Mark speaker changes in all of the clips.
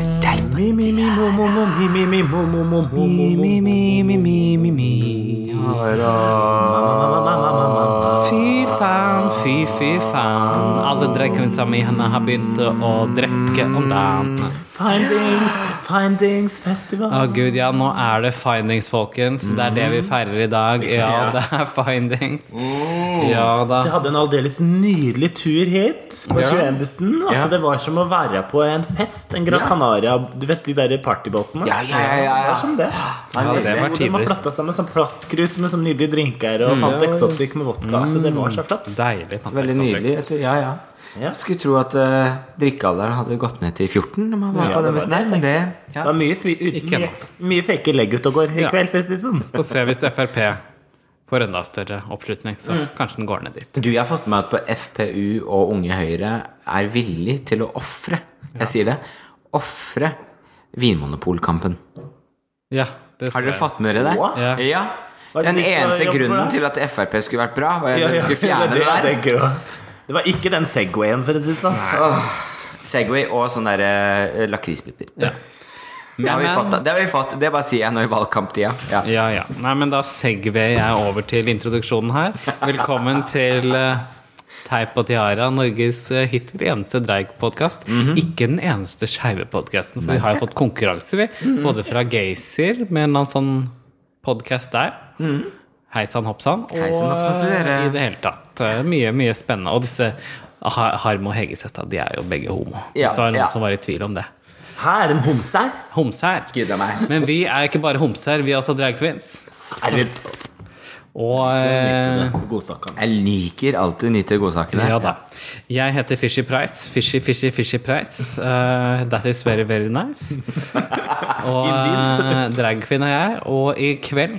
Speaker 1: Mi, mi, mi, mo, mo, mo, mi, mi, mi, mo, mo, mo, mo, mo,
Speaker 2: Mi,
Speaker 1: mo.
Speaker 2: mi, mi, mi, mi, mi, mi. Fy faen, fy, fy faen. Alle drikkevinsa mi henne har begynt å drikke om dagen.
Speaker 1: Findings, findings festival.
Speaker 2: Å gud, ja, nå er det findings, folkens. Det er det vi feirer i dag. Ja, det er findings. Ja da.
Speaker 1: Så jeg hadde en aldeles nydelig tur hit på
Speaker 2: Ja.
Speaker 1: 21-bussen. Altså,
Speaker 3: Ja.
Speaker 1: Det var som å være på en fest. En Gran Canaria. Du vet de der partybåtene?
Speaker 3: Ja, ja, ja, ja,
Speaker 1: Det
Speaker 3: ja.
Speaker 1: var som det.
Speaker 3: Ja,
Speaker 2: det var
Speaker 1: Hvor de har
Speaker 2: tider.
Speaker 1: flatta sammen som plastkrus med sånn nydelige drinker og fant Exotic med vodka. Så det var så flott.
Speaker 2: Deilig. Tante
Speaker 3: Veldig
Speaker 2: Exotic.
Speaker 3: nydelig. Vet du. Ja, ja.
Speaker 1: Ja.
Speaker 3: Skulle tro at uh, drikkealderen hadde gått ned til 14 når man var
Speaker 1: Ja,
Speaker 3: på
Speaker 1: det
Speaker 3: den
Speaker 1: var
Speaker 3: bussen
Speaker 1: det
Speaker 3: her, men det ja.
Speaker 1: Det var mye, fri- ut,
Speaker 2: Ikke
Speaker 1: mye,
Speaker 2: ennå.
Speaker 1: mye fake legg ut og går i
Speaker 2: Ja.
Speaker 1: kveld, for å si det sånn.
Speaker 2: Få se hvis Frp får enda større oppslutning, så kanskje den går ned dit.
Speaker 3: Du, jeg har fått med at på FPU og Unge Høyre er villig til å ofre, jeg sier det, ofre Vinmonopolkampen.
Speaker 2: Ja, det
Speaker 3: Har dere
Speaker 2: jeg.
Speaker 3: fått med dere det?
Speaker 1: Hva?
Speaker 2: Ja.
Speaker 3: Ja.
Speaker 1: Hva er det
Speaker 3: Den
Speaker 1: de skal
Speaker 3: eneste
Speaker 1: jobbe for, da?
Speaker 3: grunnen til at Frp skulle vært bra, var at de skulle fjerne
Speaker 1: det,
Speaker 3: det
Speaker 1: var
Speaker 3: der.
Speaker 1: det, gøy. det var ikke den Segwayen, for å si det sånn.
Speaker 3: Segway og sånne der, eh, lakrisbiter. Det har vi
Speaker 2: Men-
Speaker 3: fått. da. Det har vi fått. Det bare sier jeg nå i valgkamptida. Ja.
Speaker 2: Ja, ja. Nei, men da segver jeg over til introduksjonen her. Velkommen til eh, Teip og Tiara, Norges eh, hittil eneste dreigpodkast.
Speaker 3: Mhm.
Speaker 2: Ikke den eneste skeive podkasten, for vi har jo fått konkurranse, vi.
Speaker 3: Mhm.
Speaker 2: Både fra Geysir, med en eller annen sånn podkast der. Hei sann, hopp sann. Og
Speaker 3: Mhm. Hei sann, hopp sann til dere.
Speaker 2: eh, i det hele tatt. eh, Mye, mye spennende. Og disse Ha- Harm og Hegeseth, de er jo begge homo.
Speaker 3: Ja,
Speaker 2: Hvis det var noen
Speaker 3: ja.
Speaker 2: som var i tvil om det.
Speaker 1: Her er en homse her.
Speaker 2: Homse her.
Speaker 3: Gud a meg.
Speaker 2: Men vi er ikke bare homser, vi er også drag queens.
Speaker 1: Er det,
Speaker 2: Og eh,
Speaker 1: Godsaken.
Speaker 3: Jeg liker alltid å nyte godsakene.
Speaker 2: ja da. Jeg heter Fishy Price. Fishy, fishy, fishy Price. Eh, that is very, very nice. Og eh, dragkvinne er jeg. Og i kveld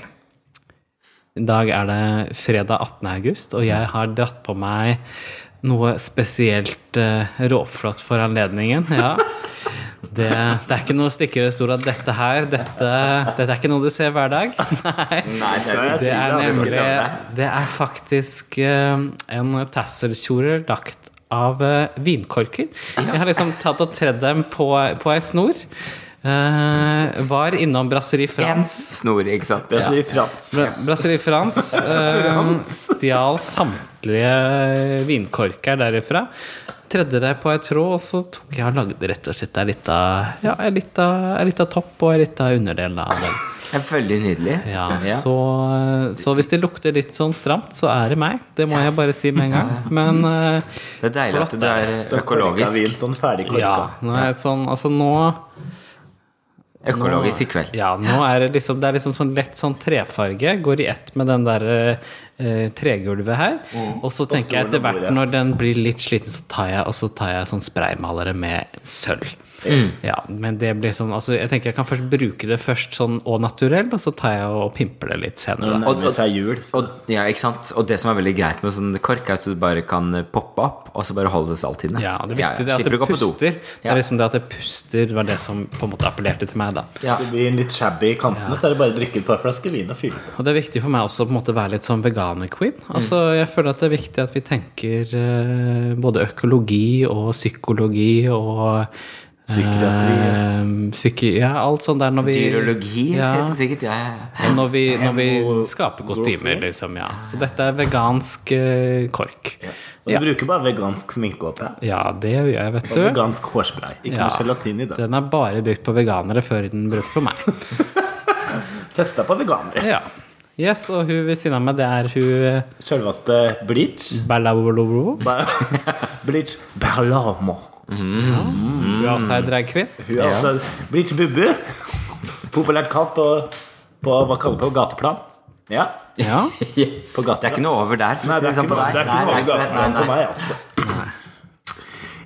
Speaker 2: I dag er det fredag 18. august, og jeg har dratt på meg noe spesielt eh, råflott for anledningen. Ja. Det, det er ikke noe stikkere stol at dette her dette, dette er ikke noe du ser hver dag. Nei.
Speaker 3: Nei, det er
Speaker 2: Det er nemlig
Speaker 3: lage.
Speaker 2: Det er faktisk eh, en tasselkjole lagt av eh, vinkorker. Jeg har liksom tatt og tredd dem på, på ei snor. Eh, var innom Brasserie
Speaker 3: en
Speaker 2: France.
Speaker 3: snor, ikke sant?
Speaker 1: Det sier Frans.
Speaker 2: Bra- Brasserie France eh, stjal samtlige vinkorker derifra. Tredde det på ei tråd, og så tok jeg og lagde rett og slett ei lita, ja, ei lita, ei lita topp og ei lita underdel av den.
Speaker 3: Det er veldig nydelig.
Speaker 2: Ja, så, eh, så hvis det lukter litt sånn stramt, så er det meg. Det må jeg bare si med en gang. Men eh,
Speaker 3: Det er deilig at du er
Speaker 1: Sånn korka
Speaker 3: økologisk.
Speaker 1: Vin, sånn ferdig korka.
Speaker 2: ja, nå er jeg sånn Altså nå
Speaker 3: Økologisk i kveld.
Speaker 2: Ja, nå er det liksom Det er liksom sånn lett sånn trefarge. Går i ett med den der eh, tregulvet her. Mm. Og så tenker jeg etter
Speaker 1: stolen og
Speaker 2: hvert,
Speaker 1: bordet.
Speaker 2: når den blir litt sliten, så tar jeg, og så tar jeg sånn spraymalere med sølv. Ja, men det blir sånn Altså, jeg tenker jeg kan først bruke det først sånn og naturell, og så tar jeg og pimper det litt senere.
Speaker 1: Nå nærmer det seg jul. Så.
Speaker 3: Og, ja, ikke sant? og det som er veldig greit med sånn kork, er at du bare kan poppe opp, og så bare holdes alt inne.
Speaker 2: Ja, det viktige er at
Speaker 3: Slipper
Speaker 2: det
Speaker 3: å gå på do.
Speaker 2: puster. Det
Speaker 3: Ja.
Speaker 2: er liksom det at det puster var det som på en måte appellerte til meg, da.
Speaker 3: Ja.
Speaker 1: Så blir den litt shabby i kantene, så er det bare å drikke et par flasker vin og fylle på.
Speaker 2: Og det er viktig for meg også å på en måte være litt sånn veganer-queen.
Speaker 3: Mm.
Speaker 2: Altså, jeg føler at det er viktig at vi tenker eh, både økologi og psykologi og eh, psyki, ja, alt sånt der når vi
Speaker 3: Dyrologi,
Speaker 2: Ja.
Speaker 3: helt sikkert. Ja, ja, ja.
Speaker 2: Og når vi, når vi
Speaker 1: Hemo-
Speaker 2: skaper kostymer, liksom. Ja. Så dette er vegansk eh, kork.
Speaker 1: Og du bruker bare vegansk sminke også, ja.
Speaker 2: Ja, det gjør jeg, vet
Speaker 1: Og
Speaker 2: du.
Speaker 1: vegansk hårspray. Ikke
Speaker 2: Ja.
Speaker 1: noe gelatin i det.
Speaker 2: Den er bare brukt på veganere før den brukte på meg.
Speaker 1: Testa på veganere.
Speaker 2: Ja. Yes, og hun ved siden av meg, det er hun
Speaker 1: Selveste bleach.
Speaker 2: Mm. Berlabolobro.
Speaker 1: Ba- bleach Berlamo.
Speaker 2: Hun er også ei dragkvinn.
Speaker 1: Hun er altså bleach Bubu. Populært kalt på, på hva kaller man på gateplan. Ja,
Speaker 2: Ja.
Speaker 1: på
Speaker 3: Det er
Speaker 1: gateplan.
Speaker 3: ikke noe over der, for
Speaker 1: Nei,
Speaker 3: å si
Speaker 1: det
Speaker 3: det
Speaker 1: er
Speaker 3: sånn
Speaker 1: ikke
Speaker 3: på
Speaker 1: noe,
Speaker 3: deg.
Speaker 1: det er ikke noe
Speaker 3: Nei, nei, nei,
Speaker 1: overgangsmann
Speaker 3: nei,
Speaker 1: for meg, altså.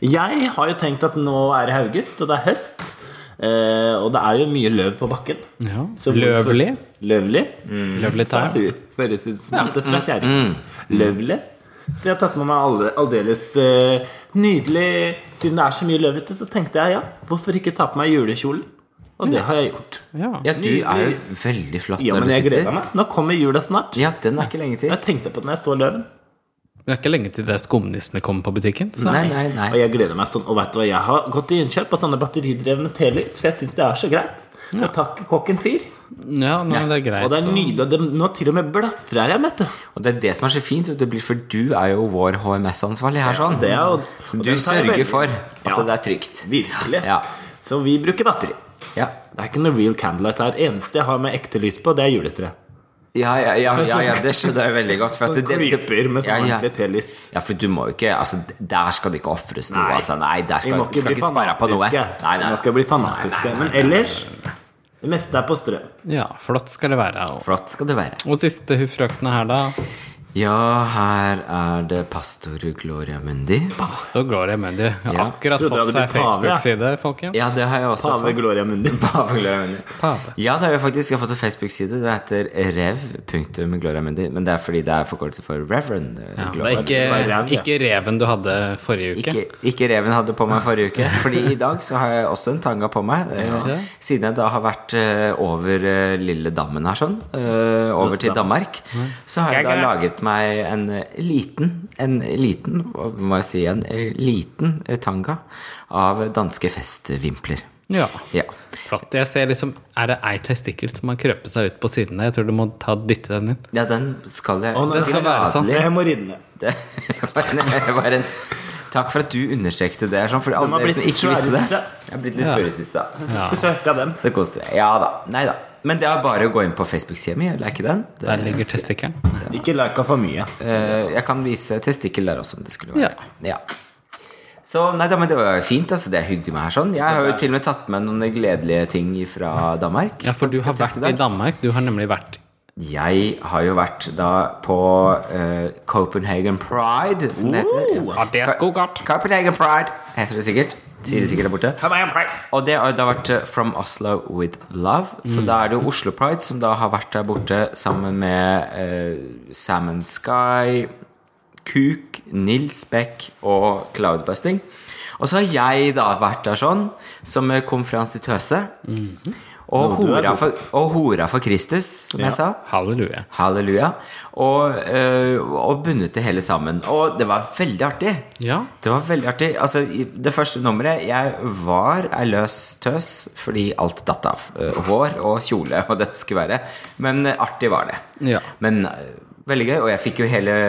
Speaker 1: Jeg har jo tenkt at nå er det august, og det er høst. eh, og det er jo mye løv på bakken.
Speaker 2: ja.
Speaker 1: Så hvorfor-
Speaker 2: Løvlig. Mm.
Speaker 1: Løvlig.
Speaker 2: Løvlig
Speaker 1: Sa
Speaker 2: time.
Speaker 1: hun, Høres ut som alt er fra
Speaker 3: Mm.
Speaker 1: kjerringa. Løvlig. Så jeg har tatt med meg alle, aldeles eh, nydelig Siden det er så mye løvete, så tenkte jeg ja, hvorfor ikke ta på meg julekjolen? Og det har jeg gjort.
Speaker 2: Ja.
Speaker 3: Ja, du er jo veldig flott
Speaker 1: Ja,
Speaker 3: der
Speaker 1: men
Speaker 3: du
Speaker 1: jeg
Speaker 3: sitter.
Speaker 1: gleder meg. Nå kommer jula snart.
Speaker 3: Ja, den er ikke lenge til.
Speaker 1: Jeg tenkte på det når jeg så løven.
Speaker 2: Det er ikke lenge til det skumnissene kommer på butikken. Så.
Speaker 3: Nei, nei,
Speaker 1: Og
Speaker 3: nei.
Speaker 1: jeg gleder meg sånn. Og vet du hva, jeg har gått til innkjøp av sånne batteridrevne telys, for jeg syns det er så greit. Og takk kokken fyr.
Speaker 2: Ja, nei, det er greit.
Speaker 1: Og det er
Speaker 2: og-
Speaker 1: nydelig. og det- Nå til og med blafrer jeg, vet du.
Speaker 3: Og det er det som er så fint, vet du, blir- for du er jo vår HMS-ansvarlig her, sånn.
Speaker 1: det er jo-
Speaker 3: så
Speaker 1: og
Speaker 3: du
Speaker 1: den tar jeg
Speaker 3: sørger
Speaker 1: veldig-
Speaker 3: for at
Speaker 1: Ja.
Speaker 3: det er trygt.
Speaker 1: Virkelig.
Speaker 3: Ja.
Speaker 1: Så vi bruker batteri.
Speaker 3: Ja.
Speaker 1: Det er ikke noe real candlelight her. Eneste jeg har med ekte lys på, det er juletre.
Speaker 3: Ja, ja, ja, ja, ja, det skjønner jeg veldig godt. For at
Speaker 1: Som
Speaker 3: det- det- det-
Speaker 1: klyper med sånn
Speaker 3: Ja, ja.
Speaker 1: ordentlig telys.
Speaker 3: Ja, for du må jo ikke altså, Der skal det ikke ofres noe.
Speaker 1: Nei.
Speaker 3: Altså, nei, der
Speaker 1: Vi
Speaker 3: skal
Speaker 1: må
Speaker 3: skal
Speaker 1: ikke bli
Speaker 3: ikke spare på noe.
Speaker 1: fanatiske.
Speaker 3: Nei,
Speaker 1: Vi
Speaker 3: nei,
Speaker 1: må ikke
Speaker 3: nei.
Speaker 1: bli fanatiske. Men ellers Det meste er på strøm.
Speaker 2: Ja, flott skal det være. Og,
Speaker 3: Flott skal det være.
Speaker 2: og siste frøkna her, da.
Speaker 3: Ja, her er det pastor Gloria Mundi.
Speaker 2: Pastor Gloria Mendy. Har
Speaker 3: Ja.
Speaker 2: akkurat
Speaker 1: Trodde jeg
Speaker 2: fått
Speaker 1: hadde
Speaker 2: seg
Speaker 1: blitt pave,
Speaker 2: Facebook-side, folkens.
Speaker 3: Ja, det har jeg også
Speaker 1: Pave
Speaker 3: fått.
Speaker 1: Gloria Mundi.
Speaker 3: Pave Gloria Mundi.
Speaker 2: Pave.
Speaker 3: Ja, det har jeg faktisk. Jeg har fått en Facebook-side. Det heter rev.gloria Mundi. Men det er fordi det er forkortelse for reverend eh,
Speaker 2: Ja, det
Speaker 3: Gloria.
Speaker 2: er ikke,
Speaker 1: Det var ræv, ja.
Speaker 2: ikke reven du hadde forrige uke.
Speaker 3: Ikke, ikke reven hadde på meg forrige uke, Fordi i dag så har jeg også en tanga på meg. eh,
Speaker 2: Ja.
Speaker 3: Siden jeg da har vært eh, over eh, lille dammen her sånn, eh, over til Danmark, så har jeg da laget meg en eh, liten, en liten, hva må jeg si, en eh, liten eh, tanga av danske festvimpler.
Speaker 2: Ja.
Speaker 3: Ja.
Speaker 2: Flott. Jeg ser liksom Er det ei testikkel som har krøpet seg ut på siden der? Jeg tror du må ta dytte den inn.
Speaker 3: ja, den skal jeg
Speaker 1: Å, nei, det skal
Speaker 2: være sånn.
Speaker 3: gladelig-
Speaker 1: Hemoroidene.
Speaker 3: Det var en, det var en, takk for at du understrekte det. Sånn, for alle
Speaker 1: har
Speaker 3: dere
Speaker 1: blitt
Speaker 3: som
Speaker 1: litt
Speaker 3: ikke visste
Speaker 1: svære
Speaker 3: det.
Speaker 1: siste.
Speaker 3: Jeg har blitt litt store siste.
Speaker 1: Ja. Skulle søke av dem.
Speaker 3: Så koste vi. Ja da. Nei da. Men det er bare å gå inn på Facebook-sida mi. Eller er ikke den? Det,
Speaker 2: Der ligger testikkelen.
Speaker 1: Ikke like for mye.
Speaker 3: Eh, jeg kan vise testikkel der også, om det skulle
Speaker 2: Ja.
Speaker 3: være. Ja. Så nei da, men det var jo fint. altså Det er hyggelig med her sånn. Jeg har jo til og med tatt med noen gledelige ting fra Danmark.
Speaker 2: Ja, for
Speaker 3: som
Speaker 2: du
Speaker 3: skal
Speaker 2: har
Speaker 3: testes
Speaker 2: vært i Danmark. Du har nemlig vært
Speaker 3: Jeg har jo vært da på eh, Copenhagen Pride, som det heter.
Speaker 2: Ja, det er skogart.
Speaker 3: Copenhagen Pride heter det sikkert. Sier det sikkert der borte.
Speaker 1: Kom igjen, hei.
Speaker 3: Og det har jo da vært eh, From Oslo with Love. Så da er det jo Oslo Pride som da har vært der borte sammen med eh, Salmon Sky, Kuk, Nils Beck og Cloudbusting. Og så har jeg da vært der sånn, som eh, konferansitøse. Og, hora for, og hora for Kristus, som jeg sa.
Speaker 2: Halleluja.
Speaker 3: Halleluja. Og, eh, og bundet det hele sammen. Og det var veldig artig.
Speaker 2: Ja.
Speaker 3: Det var veldig artig. Altså, i det første nummeret Jeg var ei løs tøs fordi alt datt av. Eh, Hår og kjole og det skulle være. Men eh, artig var det.
Speaker 2: Ja.
Speaker 3: Men eh, veldig gøy. Og jeg fikk jo hele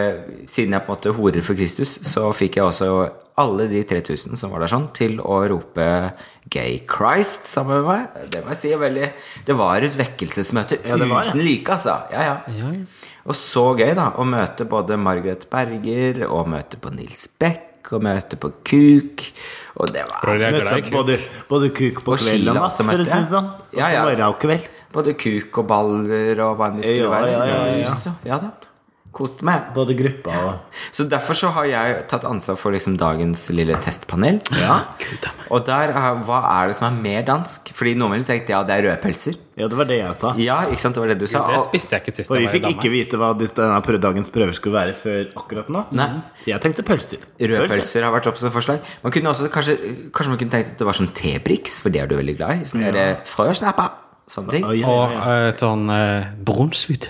Speaker 3: Siden jeg på en måte horer for Kristus, så fikk jeg også alle de 3000 som var der sånn, til å rope 'Gay Christ' sammen med meg. Det må jeg si er veldig Det var et vekkelsesmøte
Speaker 1: det var det.
Speaker 3: uten like, altså. Ja, ja.
Speaker 2: Ja, ja.
Speaker 3: Og så gøy, da, å møte både Margaret Berger og møte på Nils Beck og møte på Kuk. Og det var
Speaker 2: Jeg er
Speaker 1: Møtte
Speaker 2: glad i
Speaker 1: opp
Speaker 2: kuk.
Speaker 1: både, både kuk på
Speaker 3: Og
Speaker 1: kveld og
Speaker 3: Sheila
Speaker 1: natt,
Speaker 3: også
Speaker 1: for å
Speaker 3: møtte
Speaker 1: si
Speaker 3: jeg.
Speaker 1: det sånn. Og
Speaker 3: Ja,
Speaker 1: så
Speaker 3: ja.
Speaker 1: morgen og kveld.
Speaker 3: både Kuk og baller og hva enn det skulle
Speaker 1: Ja,
Speaker 3: være.
Speaker 1: ja, ja, ja.
Speaker 3: Rus og- ja da. Koste meg.
Speaker 1: Både gruppa og
Speaker 3: Så derfor så har jeg tatt ansvar for liksom dagens lille testpanel.
Speaker 2: Gud a meg.
Speaker 3: Og der, er- hva er det som er mer dansk? Fordi noen ville tenkt ja, det er røde pølser.
Speaker 1: Ja, det var det jeg sa.
Speaker 3: Ja, ikke sant, det var det du sa.
Speaker 2: Det
Speaker 3: Og,
Speaker 2: spiste jeg ikke sist
Speaker 1: For vi
Speaker 2: jeg var i
Speaker 1: fikk ikke
Speaker 2: Danmark.
Speaker 1: vite hva dis- denne prø- dagens prøver skulle være før akkurat nå.
Speaker 3: Nei.
Speaker 1: Jeg tenkte pølser.
Speaker 3: Røde pølser har vært oppe som forslag. Man kunne også, kanskje, kanskje man kunne tenkt at det var sånn tebriks, for det er du veldig glad i. Sånn ja. frøsnappa, sånne ting.
Speaker 1: Å, ja,
Speaker 2: Og
Speaker 1: ja, ja.
Speaker 2: eh, sånn uh, brunsvidde.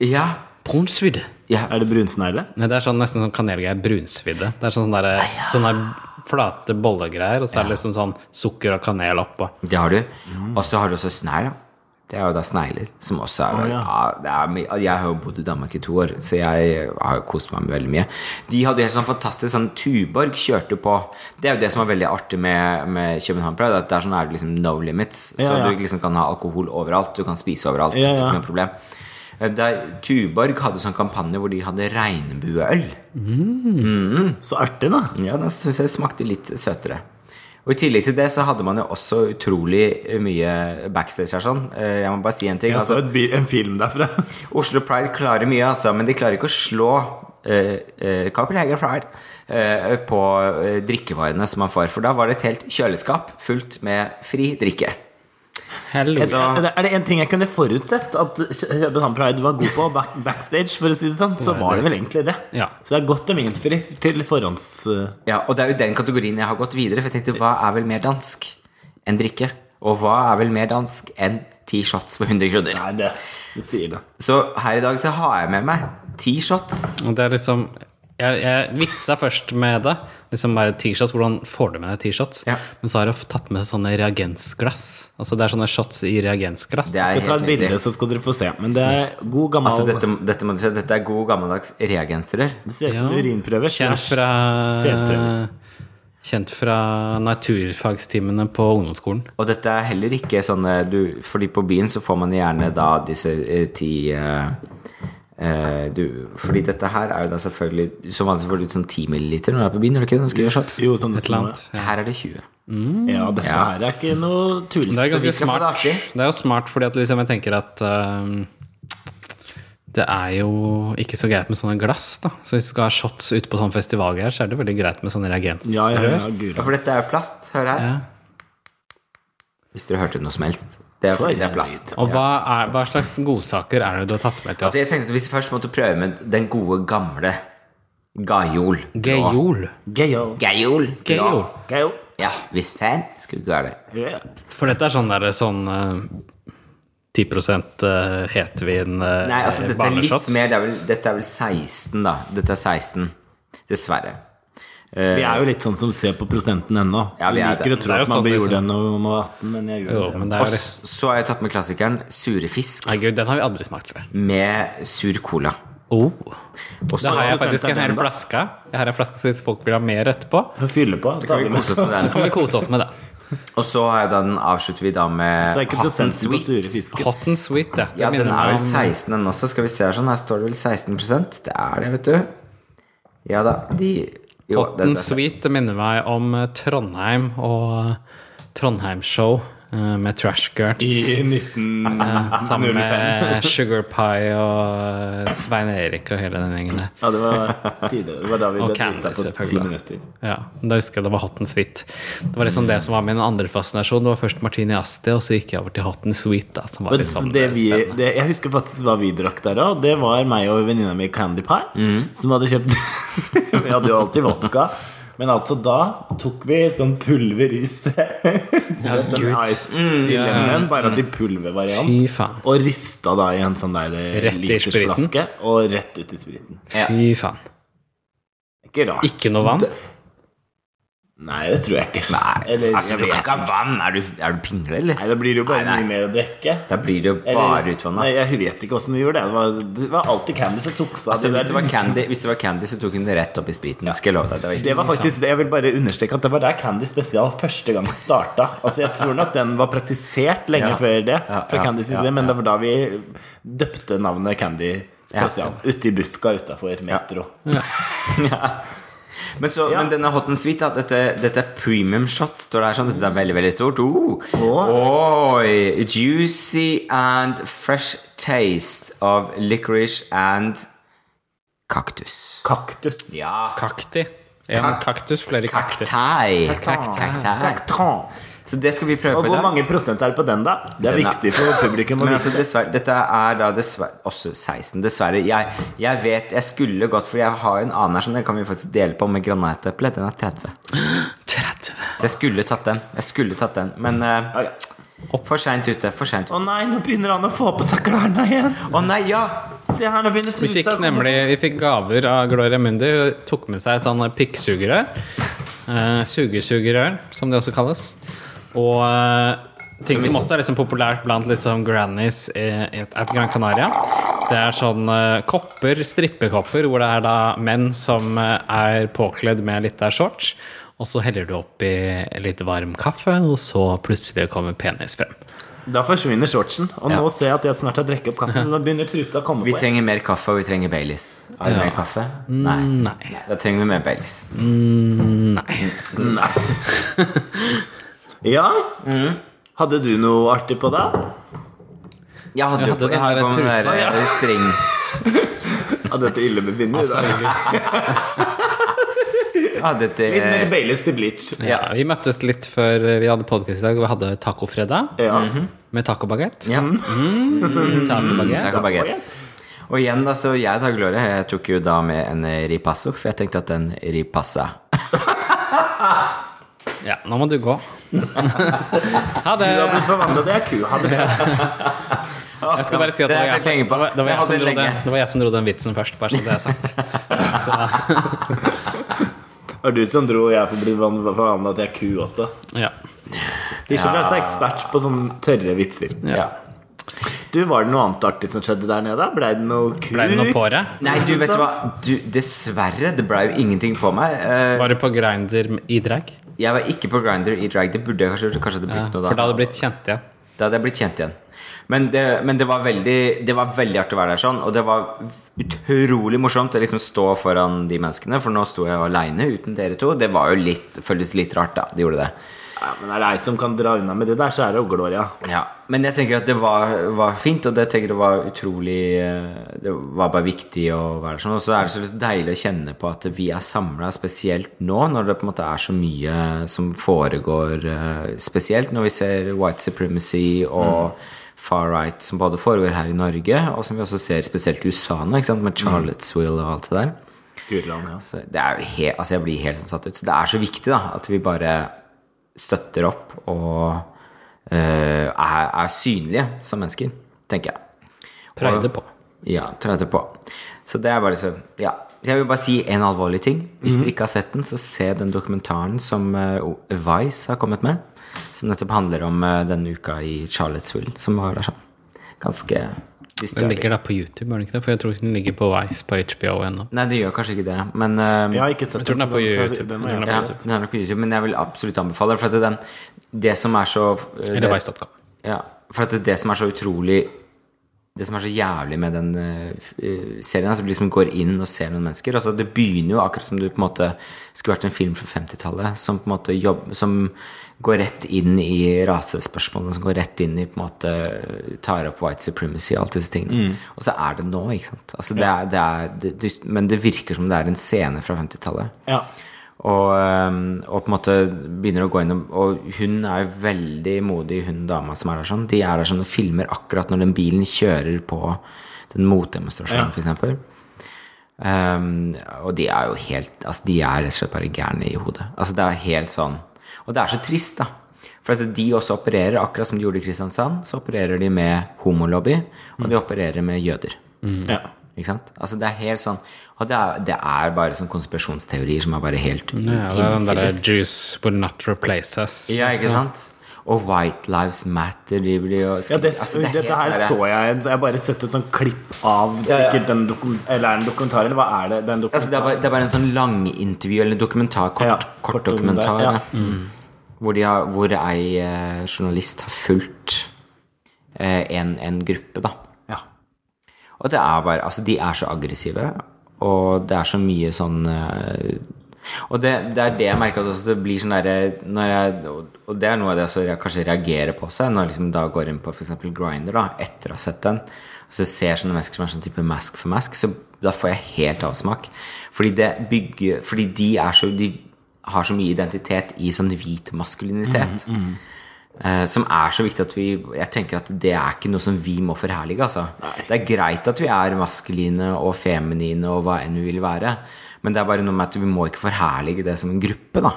Speaker 3: Ja,
Speaker 2: Brunsvidde.
Speaker 3: ja.
Speaker 1: Er det brunsnegle?
Speaker 2: Nei, det er sånn, nesten sånn kanelgreier. Brunsvidde. Det er sånn sånne, der, sånne flate bollegreier, og så er det liksom sånn sukker og kanel oppå.
Speaker 3: det har du. Og så har du også snegl, da. Det er jo da snegler, som også er,
Speaker 1: ja.
Speaker 3: ja. det er mye- Jeg har jo bodd i Danmark i to år, så jeg har jo kost meg med veldig mye. De hadde jo helt sånn fantastisk sånn Tuborg kjørte på. Det er jo det som er veldig artig med, med København Pride, at der sånn er det liksom no limits. Så
Speaker 1: Ja, ja.
Speaker 3: du liksom kan ha alkohol overalt, du kan spise overalt.
Speaker 1: Ja, ja.
Speaker 3: Ikke noe problem. Eh, Der, Tuborg hadde sånn kampanje hvor de hadde regnbueøl.
Speaker 1: Så artig, da.
Speaker 3: Ja, den syns jeg smakte litt søtere. Og I tillegg til det så hadde man jo også utrolig eh, mye backstage her. sånn Eh, Jeg må bare si en ting.
Speaker 1: Jeg så
Speaker 3: Altså,
Speaker 1: et, bi- en film derfra.
Speaker 3: Oslo Pride klarer mye, altså, men de klarer ikke å slå eh, eh, Copenhagen Pride eh, på eh, drikkevarene som man får. For da var det et helt kjøleskap fullt med fri drikke.
Speaker 2: Helvete.
Speaker 3: Ja.
Speaker 1: Er det- Er det en ting jeg kunne forutsett at Kø- København Pride var god på back, backstage, for å si det sånn, så var det vel egentlig det.
Speaker 2: Ja.
Speaker 1: Så det er godt om innfri til forhånds... eh,
Speaker 3: Ja, Og det er jo den kategorien jeg har gått videre. For jeg tenkte, hva er vel mer dansk enn drikke? Og hva er vel mer dansk enn ti shots for 100 kroner?
Speaker 1: Nei, det, det sier det.
Speaker 3: Så her i dag så har jeg med meg ti shots.
Speaker 2: Og det er liksom Jeg, jeg vitsa først med det. Liksom bare T-shots, Hvordan får du med deg T-shots?
Speaker 3: Ja.
Speaker 2: Men så har jeg tatt med sånne reagensglass. Altså Det er sånne shots i reagensglass.
Speaker 3: Det er
Speaker 1: Jeg skal ta
Speaker 3: helt
Speaker 1: et
Speaker 3: nydelig.
Speaker 1: bilde, så skal dere få se. Men det er god, gammel
Speaker 3: Altså, dette, dette må du se. Dette er god gammeldags reagenstrør.
Speaker 1: Det ser ut som
Speaker 2: Ja.
Speaker 1: urinprøve.
Speaker 2: Kjent
Speaker 1: slash
Speaker 2: fra
Speaker 1: sædprøve.
Speaker 2: Kjent fra naturfagstimene på ungdomsskolen.
Speaker 3: Og dette er heller ikke sånne du, Fordi på byen så får man gjerne da disse eh, ti eh, eh, du, Fordi dette her er jo da selvfølgelig Som vanlig så får du ut sånn 10 milliliter når du er på byen, gjør du ikke det? Når du skal gjøre shots.
Speaker 1: Jo, sånn
Speaker 2: Et eller annet.
Speaker 3: Her er det 20.
Speaker 1: Ja, dette
Speaker 3: Ja.
Speaker 1: her er ikke noe tull.
Speaker 2: Det er
Speaker 3: Så vi
Speaker 2: ganske
Speaker 3: skal få det
Speaker 2: smart.
Speaker 3: artig.
Speaker 2: Det er jo smart fordi at liksom jeg tenker at ehm, det er jo ikke så greit med sånne glass, da. Så hvis du skal ha shots ute på sånne festivalgreier, så er det veldig greit med sånne reagensrør.
Speaker 1: Ja, ja, ja, gud.
Speaker 3: Ja, for dette er jo plast. Hør her.
Speaker 2: Ja.
Speaker 3: Hvis dere hørte noe som helst. Det er
Speaker 1: For
Speaker 3: fordi det
Speaker 1: en
Speaker 3: er plast.
Speaker 2: Og hva, er, hva slags godsaker er det du har tatt med til
Speaker 3: Så jeg
Speaker 2: oss?
Speaker 3: tenkte at hvis vi først måtte prøve med den gode gamle Gajol.
Speaker 2: Gejol.
Speaker 1: Geyo.
Speaker 3: Gajol.
Speaker 2: Gejol.
Speaker 1: Geyo.
Speaker 3: Ja, hvis fan skulle ikke være det.
Speaker 1: Ja.
Speaker 2: For dette er sånn derre sånn eh, 10 eh, hetvin eh,
Speaker 3: Nei, altså dette er litt
Speaker 2: barneshots.
Speaker 3: mer det er vel, Dette er vel 16 da Dette er 16 Dessverre
Speaker 1: Vi er jo litt sånn som ser på prosenten ennå.
Speaker 3: Eh. Ja, vi
Speaker 1: vi
Speaker 3: er
Speaker 1: liker
Speaker 3: det.
Speaker 1: å
Speaker 2: Det
Speaker 1: tro
Speaker 2: er
Speaker 1: at
Speaker 2: jo
Speaker 1: man
Speaker 2: sånn,
Speaker 1: blir
Speaker 2: liksom.
Speaker 1: gjorde når man var 18, men jeg
Speaker 2: Jo,
Speaker 1: gjorde det.
Speaker 2: men det
Speaker 3: Og
Speaker 2: er jo det.
Speaker 3: s- så har jeg tatt med klassikeren Sure fisk
Speaker 2: Nei, gud, den har vi aldri smakt før.
Speaker 3: Med sur cola
Speaker 2: Oh.
Speaker 3: Og
Speaker 2: Da
Speaker 3: så
Speaker 2: har jeg
Speaker 1: prosent
Speaker 2: faktisk
Speaker 1: er
Speaker 2: en hel
Speaker 1: den, da?
Speaker 2: flaske. Jeg har en flaske så hvis folk vil ha mer etterpå,
Speaker 1: Vi fyller på.
Speaker 3: kan vi kose oss med den
Speaker 2: kan vi kose oss med det.
Speaker 3: Og så har jeg da den avslutter vi da
Speaker 1: Så er
Speaker 3: med
Speaker 1: ikke
Speaker 3: Hot and
Speaker 1: prosenten på sure
Speaker 3: Sweet
Speaker 1: fisken.
Speaker 2: Hot and sweet, ja. Det
Speaker 3: Ja,
Speaker 2: minner
Speaker 3: den er
Speaker 2: meg
Speaker 3: vel
Speaker 2: om-
Speaker 3: 16 den også Skal vi se her sånn Her står det vel 16% Det er det, vet du Ja da de, jo,
Speaker 2: Hot
Speaker 3: det-
Speaker 2: and
Speaker 3: det-
Speaker 2: sweet det minner meg om eh, Trondheim og Trondheim-show eh, med Trash Girls.
Speaker 1: I
Speaker 2: eh,
Speaker 1: 1905.
Speaker 2: Sammen med Sugar Pie og eh, Svein Erik og hele den gjengen der.
Speaker 1: Ja, det var tidligere. Det var da vi
Speaker 2: Og
Speaker 1: ble drita
Speaker 2: Candice,
Speaker 1: på ti
Speaker 2: selvfølgelig.
Speaker 1: minutter.
Speaker 2: Ja, da husker jeg det var hot and sweet. Det var liksom det som var min andre fascinasjon. Det var først Martini Asti, og så gikk jeg over til hot and sweet. Da, som var
Speaker 1: Og
Speaker 2: liksom
Speaker 1: det vi,
Speaker 2: spennende.
Speaker 1: det, jeg husker faktisk hva vi drakk der òg. Det var meg og venninna mi Candy Pie.
Speaker 3: Mm.
Speaker 1: Som hadde kjøpt Vi hadde jo alltid vodka. Men altså da tok vi sånn pulverris
Speaker 2: Ja,
Speaker 1: Den
Speaker 2: Gud,
Speaker 1: ice
Speaker 3: Mm,
Speaker 1: til
Speaker 2: ja.
Speaker 1: lemon, bare at i pulvervariant.
Speaker 2: fy faen.
Speaker 1: Og rista da i en sånn der eh,
Speaker 2: Rett i
Speaker 1: litersflaske. Og rett ut i spriten.
Speaker 2: Fy faen.
Speaker 1: Ikke rart.
Speaker 2: Ikke noe vann?
Speaker 1: Nei, det tror jeg ikke.
Speaker 3: Nei,
Speaker 1: Eller,
Speaker 3: altså
Speaker 1: jeg
Speaker 3: du
Speaker 1: vet
Speaker 3: kan ikke ha vann Er du, er du pingle, eller?
Speaker 1: Nei, det blir jo bare
Speaker 3: Nei, nei.
Speaker 1: mye mer å drikke.
Speaker 3: Da blir det jo
Speaker 1: Eller-
Speaker 3: bare utvannet
Speaker 1: Nei, jeg vet ikke åssen vi gjorde det. Det var, det var alltid Candy som tok seg av
Speaker 3: Altså,
Speaker 1: det
Speaker 3: hvis, det
Speaker 1: der.
Speaker 3: var candy, hvis det var candy, så tok hun det rett opp i spriten. Skal jeg love deg. Det var
Speaker 1: Det
Speaker 3: ikke
Speaker 1: var faktisk, jeg vil bare understreke at det var der Candy Spesial første gang starta. Altså, jeg tror nok den var praktisert lenge
Speaker 3: Ja.
Speaker 1: før det,
Speaker 3: Ja,
Speaker 1: fra
Speaker 3: ja,
Speaker 1: Candy sin
Speaker 3: ja,
Speaker 1: side, men det var da vi døpte navnet Candy Spesial. Ute i buska utafor Metro.
Speaker 3: Men, så, men denne hot and sweet, da, dette, dette er premium shot, står det her sånn. Dette er veldig, veldig stort. Oh. Oi! Juicy and fresh taste of licorice and kaktus.
Speaker 1: Kaktus.
Speaker 3: Ja.
Speaker 2: Kakti. En
Speaker 3: Kak-
Speaker 2: kaktus, flere kakter.
Speaker 3: Kaktai.
Speaker 1: Kaktai.
Speaker 3: Kaktai.
Speaker 1: Kaktan.
Speaker 3: Så det skal vi prøve
Speaker 1: Og
Speaker 3: på i
Speaker 1: hvor
Speaker 3: dag.
Speaker 1: mange prosent er det på den, da? Det er
Speaker 3: Den er-
Speaker 1: viktig for publikum. å
Speaker 3: Men
Speaker 1: vite.
Speaker 3: altså, dessverre, dette er da dessverre, også 16. Dessverre. Jeg, jeg vet jeg skulle gått, for jeg har en annen her som den kan vi faktisk dele på med granateple. Den er 30.
Speaker 2: 30.
Speaker 3: Så jeg skulle tatt den. Jeg skulle tatt den Men eh,
Speaker 1: Ja, ja.
Speaker 3: for seint ute. For seint.
Speaker 1: Å
Speaker 3: Å
Speaker 1: nei, nå begynner han å få på seg klærne igjen!
Speaker 3: nei, ja!
Speaker 1: Se her, nå begynner
Speaker 2: Vi fikk
Speaker 1: trusa å komme
Speaker 2: nemlig vi fikk gaver av Gloria Mundi. Hun tok med seg sånne pikksugerør. Eh, sugersugerør, som det også kalles. Og eh, ting som også er liksom populært blant liksom grannies eh, i et- et Gran Canaria. Det er sånn eh, kopper, strippekopper, hvor det er da menn som eh, er påkledd med litt av shorts. Og så heller du oppi litt varm kaffe, og så plutselig kommer penis frem.
Speaker 1: Da forsvinner shortsen. Og
Speaker 3: Ja.
Speaker 1: nå ser jeg at jeg snart har drukket opp kaffen, så nå begynner trusa å komme
Speaker 3: Vi
Speaker 1: på. igjen.
Speaker 3: trenger mer kaffe, og vi trenger Baileys. Har du mer kaffe? Nei.
Speaker 2: Mm, Nei.
Speaker 3: Da trenger vi mer Baileys.
Speaker 2: Nei.
Speaker 1: Ja?
Speaker 3: Mm.
Speaker 1: Hadde du noe artig på deg?
Speaker 3: Jeg hadde,
Speaker 2: Jeg
Speaker 3: jo
Speaker 2: hadde
Speaker 3: på, jeg
Speaker 2: den
Speaker 3: hadde
Speaker 2: her
Speaker 3: på den
Speaker 2: trusa,
Speaker 3: der eh, streng
Speaker 1: Av dette illebefinnende? Altså,
Speaker 3: Jeg hadde et
Speaker 1: Litt mer
Speaker 3: eh,
Speaker 1: Baileys til bleach.
Speaker 2: Ja, vi møttes litt før eh, vi hadde podkast i dag, og vi hadde tacofredag
Speaker 1: Ja.
Speaker 2: med tacobagett.
Speaker 3: ja,
Speaker 2: Tacobagett.
Speaker 3: Mm, takk og baguette. Og igjen, da, så jeg da, Gloria, jeg tok jo da med en eh, ripasso, for jeg tenkte at den ripassa
Speaker 2: Ja, nå må du gå. ha det!
Speaker 1: Du har blitt forvandlet, det er ku. Hadde det.
Speaker 2: Jeg skal bare si at det
Speaker 3: Det
Speaker 2: var jeg
Speaker 3: er det jeg
Speaker 2: som-
Speaker 3: tenker på.
Speaker 2: det var- det var
Speaker 3: Jeg
Speaker 2: jeg som
Speaker 3: hadde
Speaker 2: dro
Speaker 3: lenge.
Speaker 2: den- det var jeg som dro den vitsen først, bare så det er sagt. Så,
Speaker 1: Og du som dro jeg får bli forvandla til ei ku også.
Speaker 2: ja.
Speaker 1: Ikke vær så ekspert på sånne tørre vitser.
Speaker 3: Ja.
Speaker 1: Du, Var det noe annet artig som skjedde der nede? Blei det noe kuk?
Speaker 2: Ble det noe på deg?
Speaker 3: Nei, du vet du hva du, Dessverre, det ble jo ingenting på meg Eh,
Speaker 2: Var du på Grinder i drag?
Speaker 3: Jeg var ikke på Grindr i drag Det burde jeg kanskje gjort Kanskje det
Speaker 2: Ja,
Speaker 3: blitt
Speaker 2: for
Speaker 3: noe
Speaker 2: da
Speaker 3: da
Speaker 2: hadde du blitt kjent igjen.
Speaker 3: Da hadde jeg blitt kjent igjen men det, men det var veldig Det var veldig artig å være der sånn Og det var utrolig morsomt Å liksom stå foran de menneskene For nå sto jeg alene uten dere to Det var jo litt, føltes litt rart da Det gjorde det
Speaker 1: Ja, men er det ei som kan dra unna med det der, så er det jo Gloria.
Speaker 3: Ja, men jeg tenker at det var, var fint, og det tenker jeg var utrolig eh, Det var bare viktig å være sånn. Og så er det så deilig å kjenne på at vi er samla, spesielt nå, når det på en måte er så mye som foregår eh, Spesielt når vi ser white supremacy og far right, som både foregår her i Norge, og som vi også ser spesielt i USA nå, ikke sant, med Charlottesville og alt det der.
Speaker 1: Gudland, ja.
Speaker 3: Så det er jo he altså jeg blir helt sånn satt ut. Så det er så viktig da, at vi bare støtter opp og eh, er, er synlige som mennesker, tenker jeg.
Speaker 2: Preide på.
Speaker 3: Ja, tror jeg det på. Så det er bare så, ja. Jeg vil bare si en alvorlig ting. Hvis dere ikke har sett den, så se den dokumentaren som eh, o- Vice har kommet med, som nettopp handler om eh, denne uka i Charlottesville, som var der sånn. Ganske
Speaker 2: Den
Speaker 3: disturbing.
Speaker 2: ligger da på YouTube, gjør den ikke det? For jeg tror ikke den ligger på Vice på HBO ennå.
Speaker 3: Nei, det gjør kanskje ikke det, men eh,
Speaker 1: Jeg har ikke sett
Speaker 2: tror den er på
Speaker 1: så skal-
Speaker 2: YouTube.
Speaker 1: den må
Speaker 2: Jeg tror den
Speaker 1: jeg
Speaker 2: er
Speaker 3: Ja,
Speaker 1: få se.
Speaker 3: den er nok på YouTube, men jeg vil absolutt anbefale det. For at den, det som er så eh,
Speaker 2: Eller
Speaker 3: det-
Speaker 2: Vice.com.
Speaker 3: Ja, for at det som er så utrolig Det som er så jævlig med den eh, f- eh, serien, er at du liksom går inn og ser noen mennesker. Altså Det begynner jo akkurat som du på en måte skulle vært en film fra 50-tallet som på en måte jobb, som går rett inn i rasespørsmålene, som går rett inn i på en måte eh, tar opp white supremacy og alt disse tingene. Og så er det nå, ikke sant. Altså, det er, det er, det, det, men det virker som det er en scene fra 50-tallet.
Speaker 1: Ja.
Speaker 3: Og, øhm, og på en måte begynner å gå inn og- Og hun er jo veldig modig, hun dama som er der sånn. De er der sånn og filmer akkurat når den bilen kjører på den
Speaker 1: Ja.
Speaker 3: motdemonstrasjonen, for f.eks. Um, og de er jo helt Altså De er rett og slett bare gærne i hodet. Altså Det er helt sånn Og det er så trist, da. For at de også opererer, akkurat som de gjorde i Kristiansand, så opererer de med homolobby, og de opererer med jøder.
Speaker 2: Mm.
Speaker 1: Ja.
Speaker 3: Ikke sant? Altså det er helt sånn Og det er, det er bare sånn konspirasjonsteorier som er bare helt
Speaker 2: Ja, det er den derre
Speaker 3: hinsides.
Speaker 2: 'Juice will not replace us'.
Speaker 3: Ja, ikke sant? Og White Lives Matter driver de og
Speaker 1: Ja,
Speaker 3: skriver
Speaker 1: det,
Speaker 3: altså, det er
Speaker 1: dette her
Speaker 3: helt sånn
Speaker 1: så
Speaker 3: derre-
Speaker 1: jeg en- så Jeg har bare sett et sånn klipp av sikkert den dokum, Eller er det en dokumentar, eller hva er det? Det er en
Speaker 3: altså, det, er
Speaker 1: dokumentar.
Speaker 3: bare, det er bare en sånn langintervju eller dokumentar, kort,
Speaker 1: Ja,
Speaker 3: kort
Speaker 1: kort dokumentar,
Speaker 3: dokumentar.
Speaker 1: ja.
Speaker 3: ja.
Speaker 2: Mm.
Speaker 3: Hvor, de har, hvor ei eh, journalist har fulgt eh, en, en gruppe, da.
Speaker 1: Ja.
Speaker 3: Og det er bare Altså, de er så aggressive, og det er så mye sånn eh, Og det, det er det jeg merker at også det blir sånn derre når jeg- Og og det er noe av det jeg også re- kanskje reagerer på også, når jeg liksom da går inn på f.eks. Grinder, da, etter å ha sett den, og så ser jeg sånne mennesker som er sånn type mask for mask, så da får jeg helt avsmak. Fordi det bygger Fordi de er så De har så mye identitet i sånn hvit maskulinitet. Eh, som er så viktig at vi Jeg tenker at det er ikke noe som vi må forherlige. Altså. Det er greit at vi er maskuline og feminine og hva enn vi vil være, men det er bare noe med at vi må ikke forherlige det som en gruppe, da.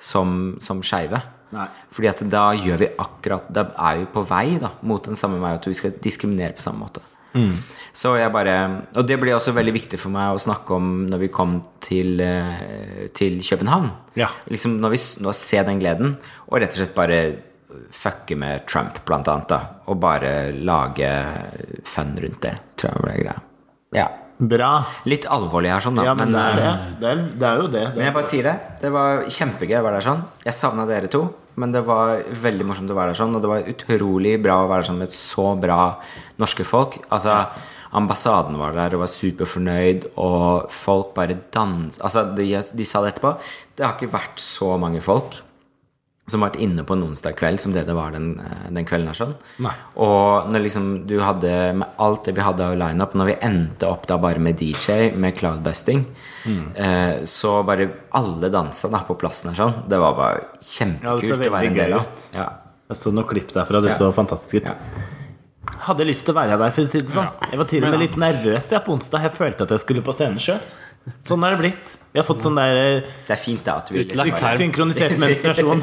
Speaker 3: Som, som skeive.
Speaker 1: Nei.
Speaker 3: Fordi at da gjør vi akkurat Da er vi på vei da mot den samme vei at vi skal diskriminere på samme måte.
Speaker 1: Mm.
Speaker 3: Så jeg bare Og det ble også veldig viktig for meg å snakke om når vi kom til, eh, til København.
Speaker 1: Ja.
Speaker 3: Liksom når vi s- når ser den gleden, og rett og slett bare fucke med Trump, blant annet, da. Og bare lage fun rundt det, tror jeg ble greia. Ja.
Speaker 1: Bra.
Speaker 3: Litt alvorlig her, sånn, da.
Speaker 1: Ja, men det er
Speaker 3: eh,
Speaker 1: det. Det er, det er jo det. det
Speaker 3: men
Speaker 1: er.
Speaker 3: jeg bare sier det. Det var kjempegøy å være der sånn. Jeg savna dere to, men det var veldig morsomt å være der sånn. Og det var utrolig bra å være der sånn med så bra norske folk. Altså, ambassaden var der og var superfornøyd, og folk bare dans... Altså, de, de sa det etterpå. Det har ikke vært så mange folk som har vært inne på en onsdag kveld som det det var den, eh, den kvelden her. sånn.
Speaker 1: Nei.
Speaker 3: Og når liksom du hadde med alt det vi hadde av lineup, når vi endte opp da bare med DJ, med cloudbusting, eh, så bare alle dansa da på plassen her sånn. Det var bare
Speaker 1: Ja, det
Speaker 3: kjempekult
Speaker 1: så
Speaker 3: å være en
Speaker 1: veldig
Speaker 3: del
Speaker 1: gøy
Speaker 3: av.
Speaker 1: ut.
Speaker 3: Ja.
Speaker 1: Jeg så noen klipp derfra. Det så fantastisk ut.
Speaker 3: Ja.
Speaker 1: Hadde lyst til å være der, for å si det sånn. Jeg var til og med litt nervøs jeg, på onsdag. Jeg følte at jeg skulle på scenen sjøl. Sånn er det blitt. Vi har fått sånn der eh,
Speaker 3: Det er fint da at vi
Speaker 1: sånn
Speaker 2: Utlagt her.
Speaker 3: liksom bare,
Speaker 2: Term.
Speaker 1: synkronisert menstruasjon.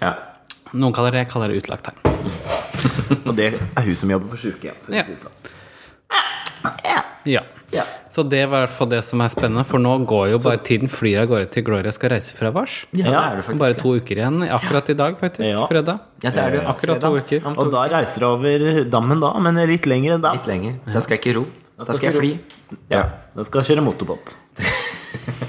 Speaker 3: ja.
Speaker 2: Noen kaller det, kaller det utlagt her.
Speaker 1: Og det er hun som jobber på sykehjem. for å
Speaker 2: Ja.
Speaker 1: si det sånn.
Speaker 2: Ja.
Speaker 1: Ja.
Speaker 2: Så det var i hvert fall det som er spennende, for nå går jo bare tiden flyr av gårde til Gloria skal reise fra Vars.
Speaker 3: Ja, det
Speaker 1: Ja.
Speaker 3: er det
Speaker 2: Bare
Speaker 3: faktisk.
Speaker 2: to uker igjen akkurat i dag, faktisk.
Speaker 1: Ja.
Speaker 2: Fredag.
Speaker 3: Ja, det er det jo
Speaker 2: Akkurat to
Speaker 3: fredag.
Speaker 2: uker.
Speaker 3: Om
Speaker 1: Og da reiser du over dammen, da, men litt lenger enn da.
Speaker 3: Litt lenger. Da skal jeg ikke ro. Da skal jeg
Speaker 1: ikke
Speaker 3: fly.
Speaker 1: Ja, Da skal jeg kjøre motorbåt.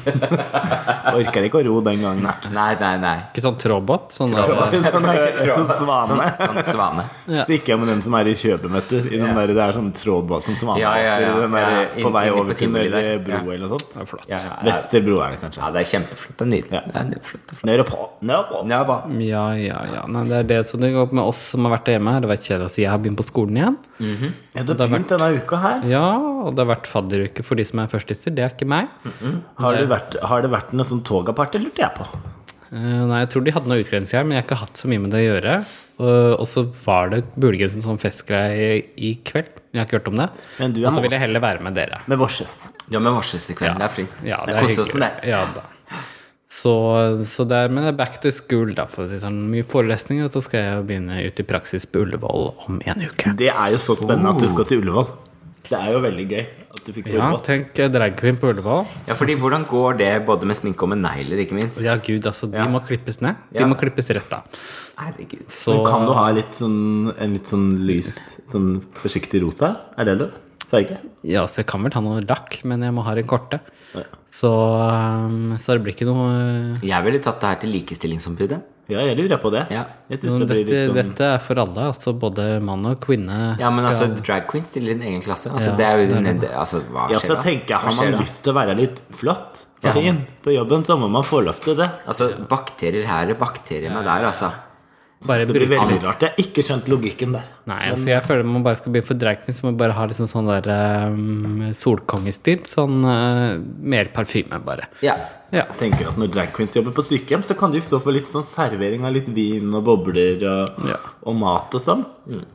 Speaker 1: Orker ikke å ro den gangen her.
Speaker 3: Nei, nei, nei.
Speaker 2: Ikke sånn tråbåt. Sånn der,
Speaker 1: Sånn svane.
Speaker 3: Sånn svane.
Speaker 1: Stikker jeg med den som er i kjøpet, vet du. I den der, det er sånn trådbåt som svane.
Speaker 3: Ja, ja, ja.
Speaker 1: i Den der,
Speaker 3: Ja,
Speaker 1: på vei
Speaker 3: inn- inn på
Speaker 1: over til
Speaker 3: Tivoli
Speaker 1: Møre
Speaker 3: der.
Speaker 1: bro
Speaker 3: Ja.
Speaker 1: eller noe sånt.
Speaker 2: det er flott.
Speaker 3: Ja, ja, ja.
Speaker 1: Vesterbro er det kanskje.
Speaker 3: ja, det er kjempeflott. Det er nydelig. Det er nydelig. flott og flott.
Speaker 1: Nede på. Nede på.
Speaker 3: Ja, da.
Speaker 2: Ja, ja, ja. Nei, det er det som det går opp med oss som har vært hjemme. her. Det var kjedelig å si jeg har begynt på skolen igjen.
Speaker 1: Ja, du har begynt denne uka her.
Speaker 2: Ja, og det har vært fadderuke for de som er førstister. Det er ikke meg.
Speaker 1: Har, du vært, har det vært noe sånn togaparty, lurte jeg på.
Speaker 2: Eh, Nei, jeg tror de hadde noe utgrensing her, men jeg har ikke hatt så mye med det å gjøre. Og- Og så var det muligens en sånn festgreie i kveld. Jeg har ikke hørt om det.
Speaker 1: Men du er
Speaker 2: Og så
Speaker 1: med
Speaker 2: vil jeg
Speaker 1: oss.
Speaker 2: heller være med dere.
Speaker 1: Med vårs.
Speaker 3: Ja, men varsles i kveld. Det er fint.
Speaker 2: Ja, det
Speaker 3: Jeg
Speaker 2: er
Speaker 3: koser oss med
Speaker 2: hyggelig.
Speaker 3: det.
Speaker 2: Ja, da. Så, så det er, men det er back to school, da, for å si sånn. Mye forelesninger, og så skal jeg begynne ut i praksis på Ullevål om en uke.
Speaker 1: Det er jo så spennende at du skal til Ullevål. Det er jo veldig gøy at du fikk på
Speaker 2: Ja,
Speaker 1: Ullevål.
Speaker 2: tenk eh, drag queen på Ullevål.
Speaker 3: Ja, fordi hvordan går det både med sminke og med negler, ikke minst?
Speaker 2: Ja, gud, altså, de
Speaker 3: Ja.
Speaker 2: må klippes ned. De
Speaker 3: Ja.
Speaker 2: må klippes rett av.
Speaker 3: Herregud.
Speaker 2: Så
Speaker 1: Men Kan du ha litt sånn, en litt sånn lys, sånn forsiktig rosa? Er det lov? Farge?
Speaker 2: Ja, så jeg kan vel ta noe lakk, men jeg må ha en korte. Så, um, så det blir ikke noe uh,
Speaker 3: Jeg ville tatt det her til Likestillingsombudet.
Speaker 1: Ja, jeg lurer på det.
Speaker 3: Ja.
Speaker 1: Jeg synes det blir litt
Speaker 2: dette,
Speaker 1: sånn
Speaker 2: dette er for alle, altså både mann og kvinne.
Speaker 3: Ja, men altså,
Speaker 2: skal-
Speaker 3: drag queen stiller i en egen klasse. Altså,
Speaker 2: Ja,
Speaker 3: det er jo
Speaker 2: det er
Speaker 3: ned, altså, hva
Speaker 1: Ja,
Speaker 3: skjer
Speaker 1: så
Speaker 3: da?
Speaker 1: tenker jeg,
Speaker 3: Hva
Speaker 1: har
Speaker 3: skjer
Speaker 1: man
Speaker 3: da?
Speaker 1: lyst til å være litt flott og fin på jobben, så må man få lov til det.
Speaker 3: Altså, bakterier her og bakterier med der, altså.
Speaker 2: bare
Speaker 1: Det blir
Speaker 2: bruke-
Speaker 1: veldig rart. Jeg har ikke skjønt logikken der.
Speaker 2: Nei, altså jeg føler man bare skal begynne for drag queen, så man bare har liksom sånn der um, solkongestil. Sånn uh, mer parfyme, bare.
Speaker 3: Ja.
Speaker 2: Ja.
Speaker 1: Jeg tenker at Når drag queens jobber på sykehjem, så kan de stå for litt sånn servering av litt vin og bobler og,
Speaker 2: Ja.
Speaker 1: og mat og sånn.
Speaker 3: Mm.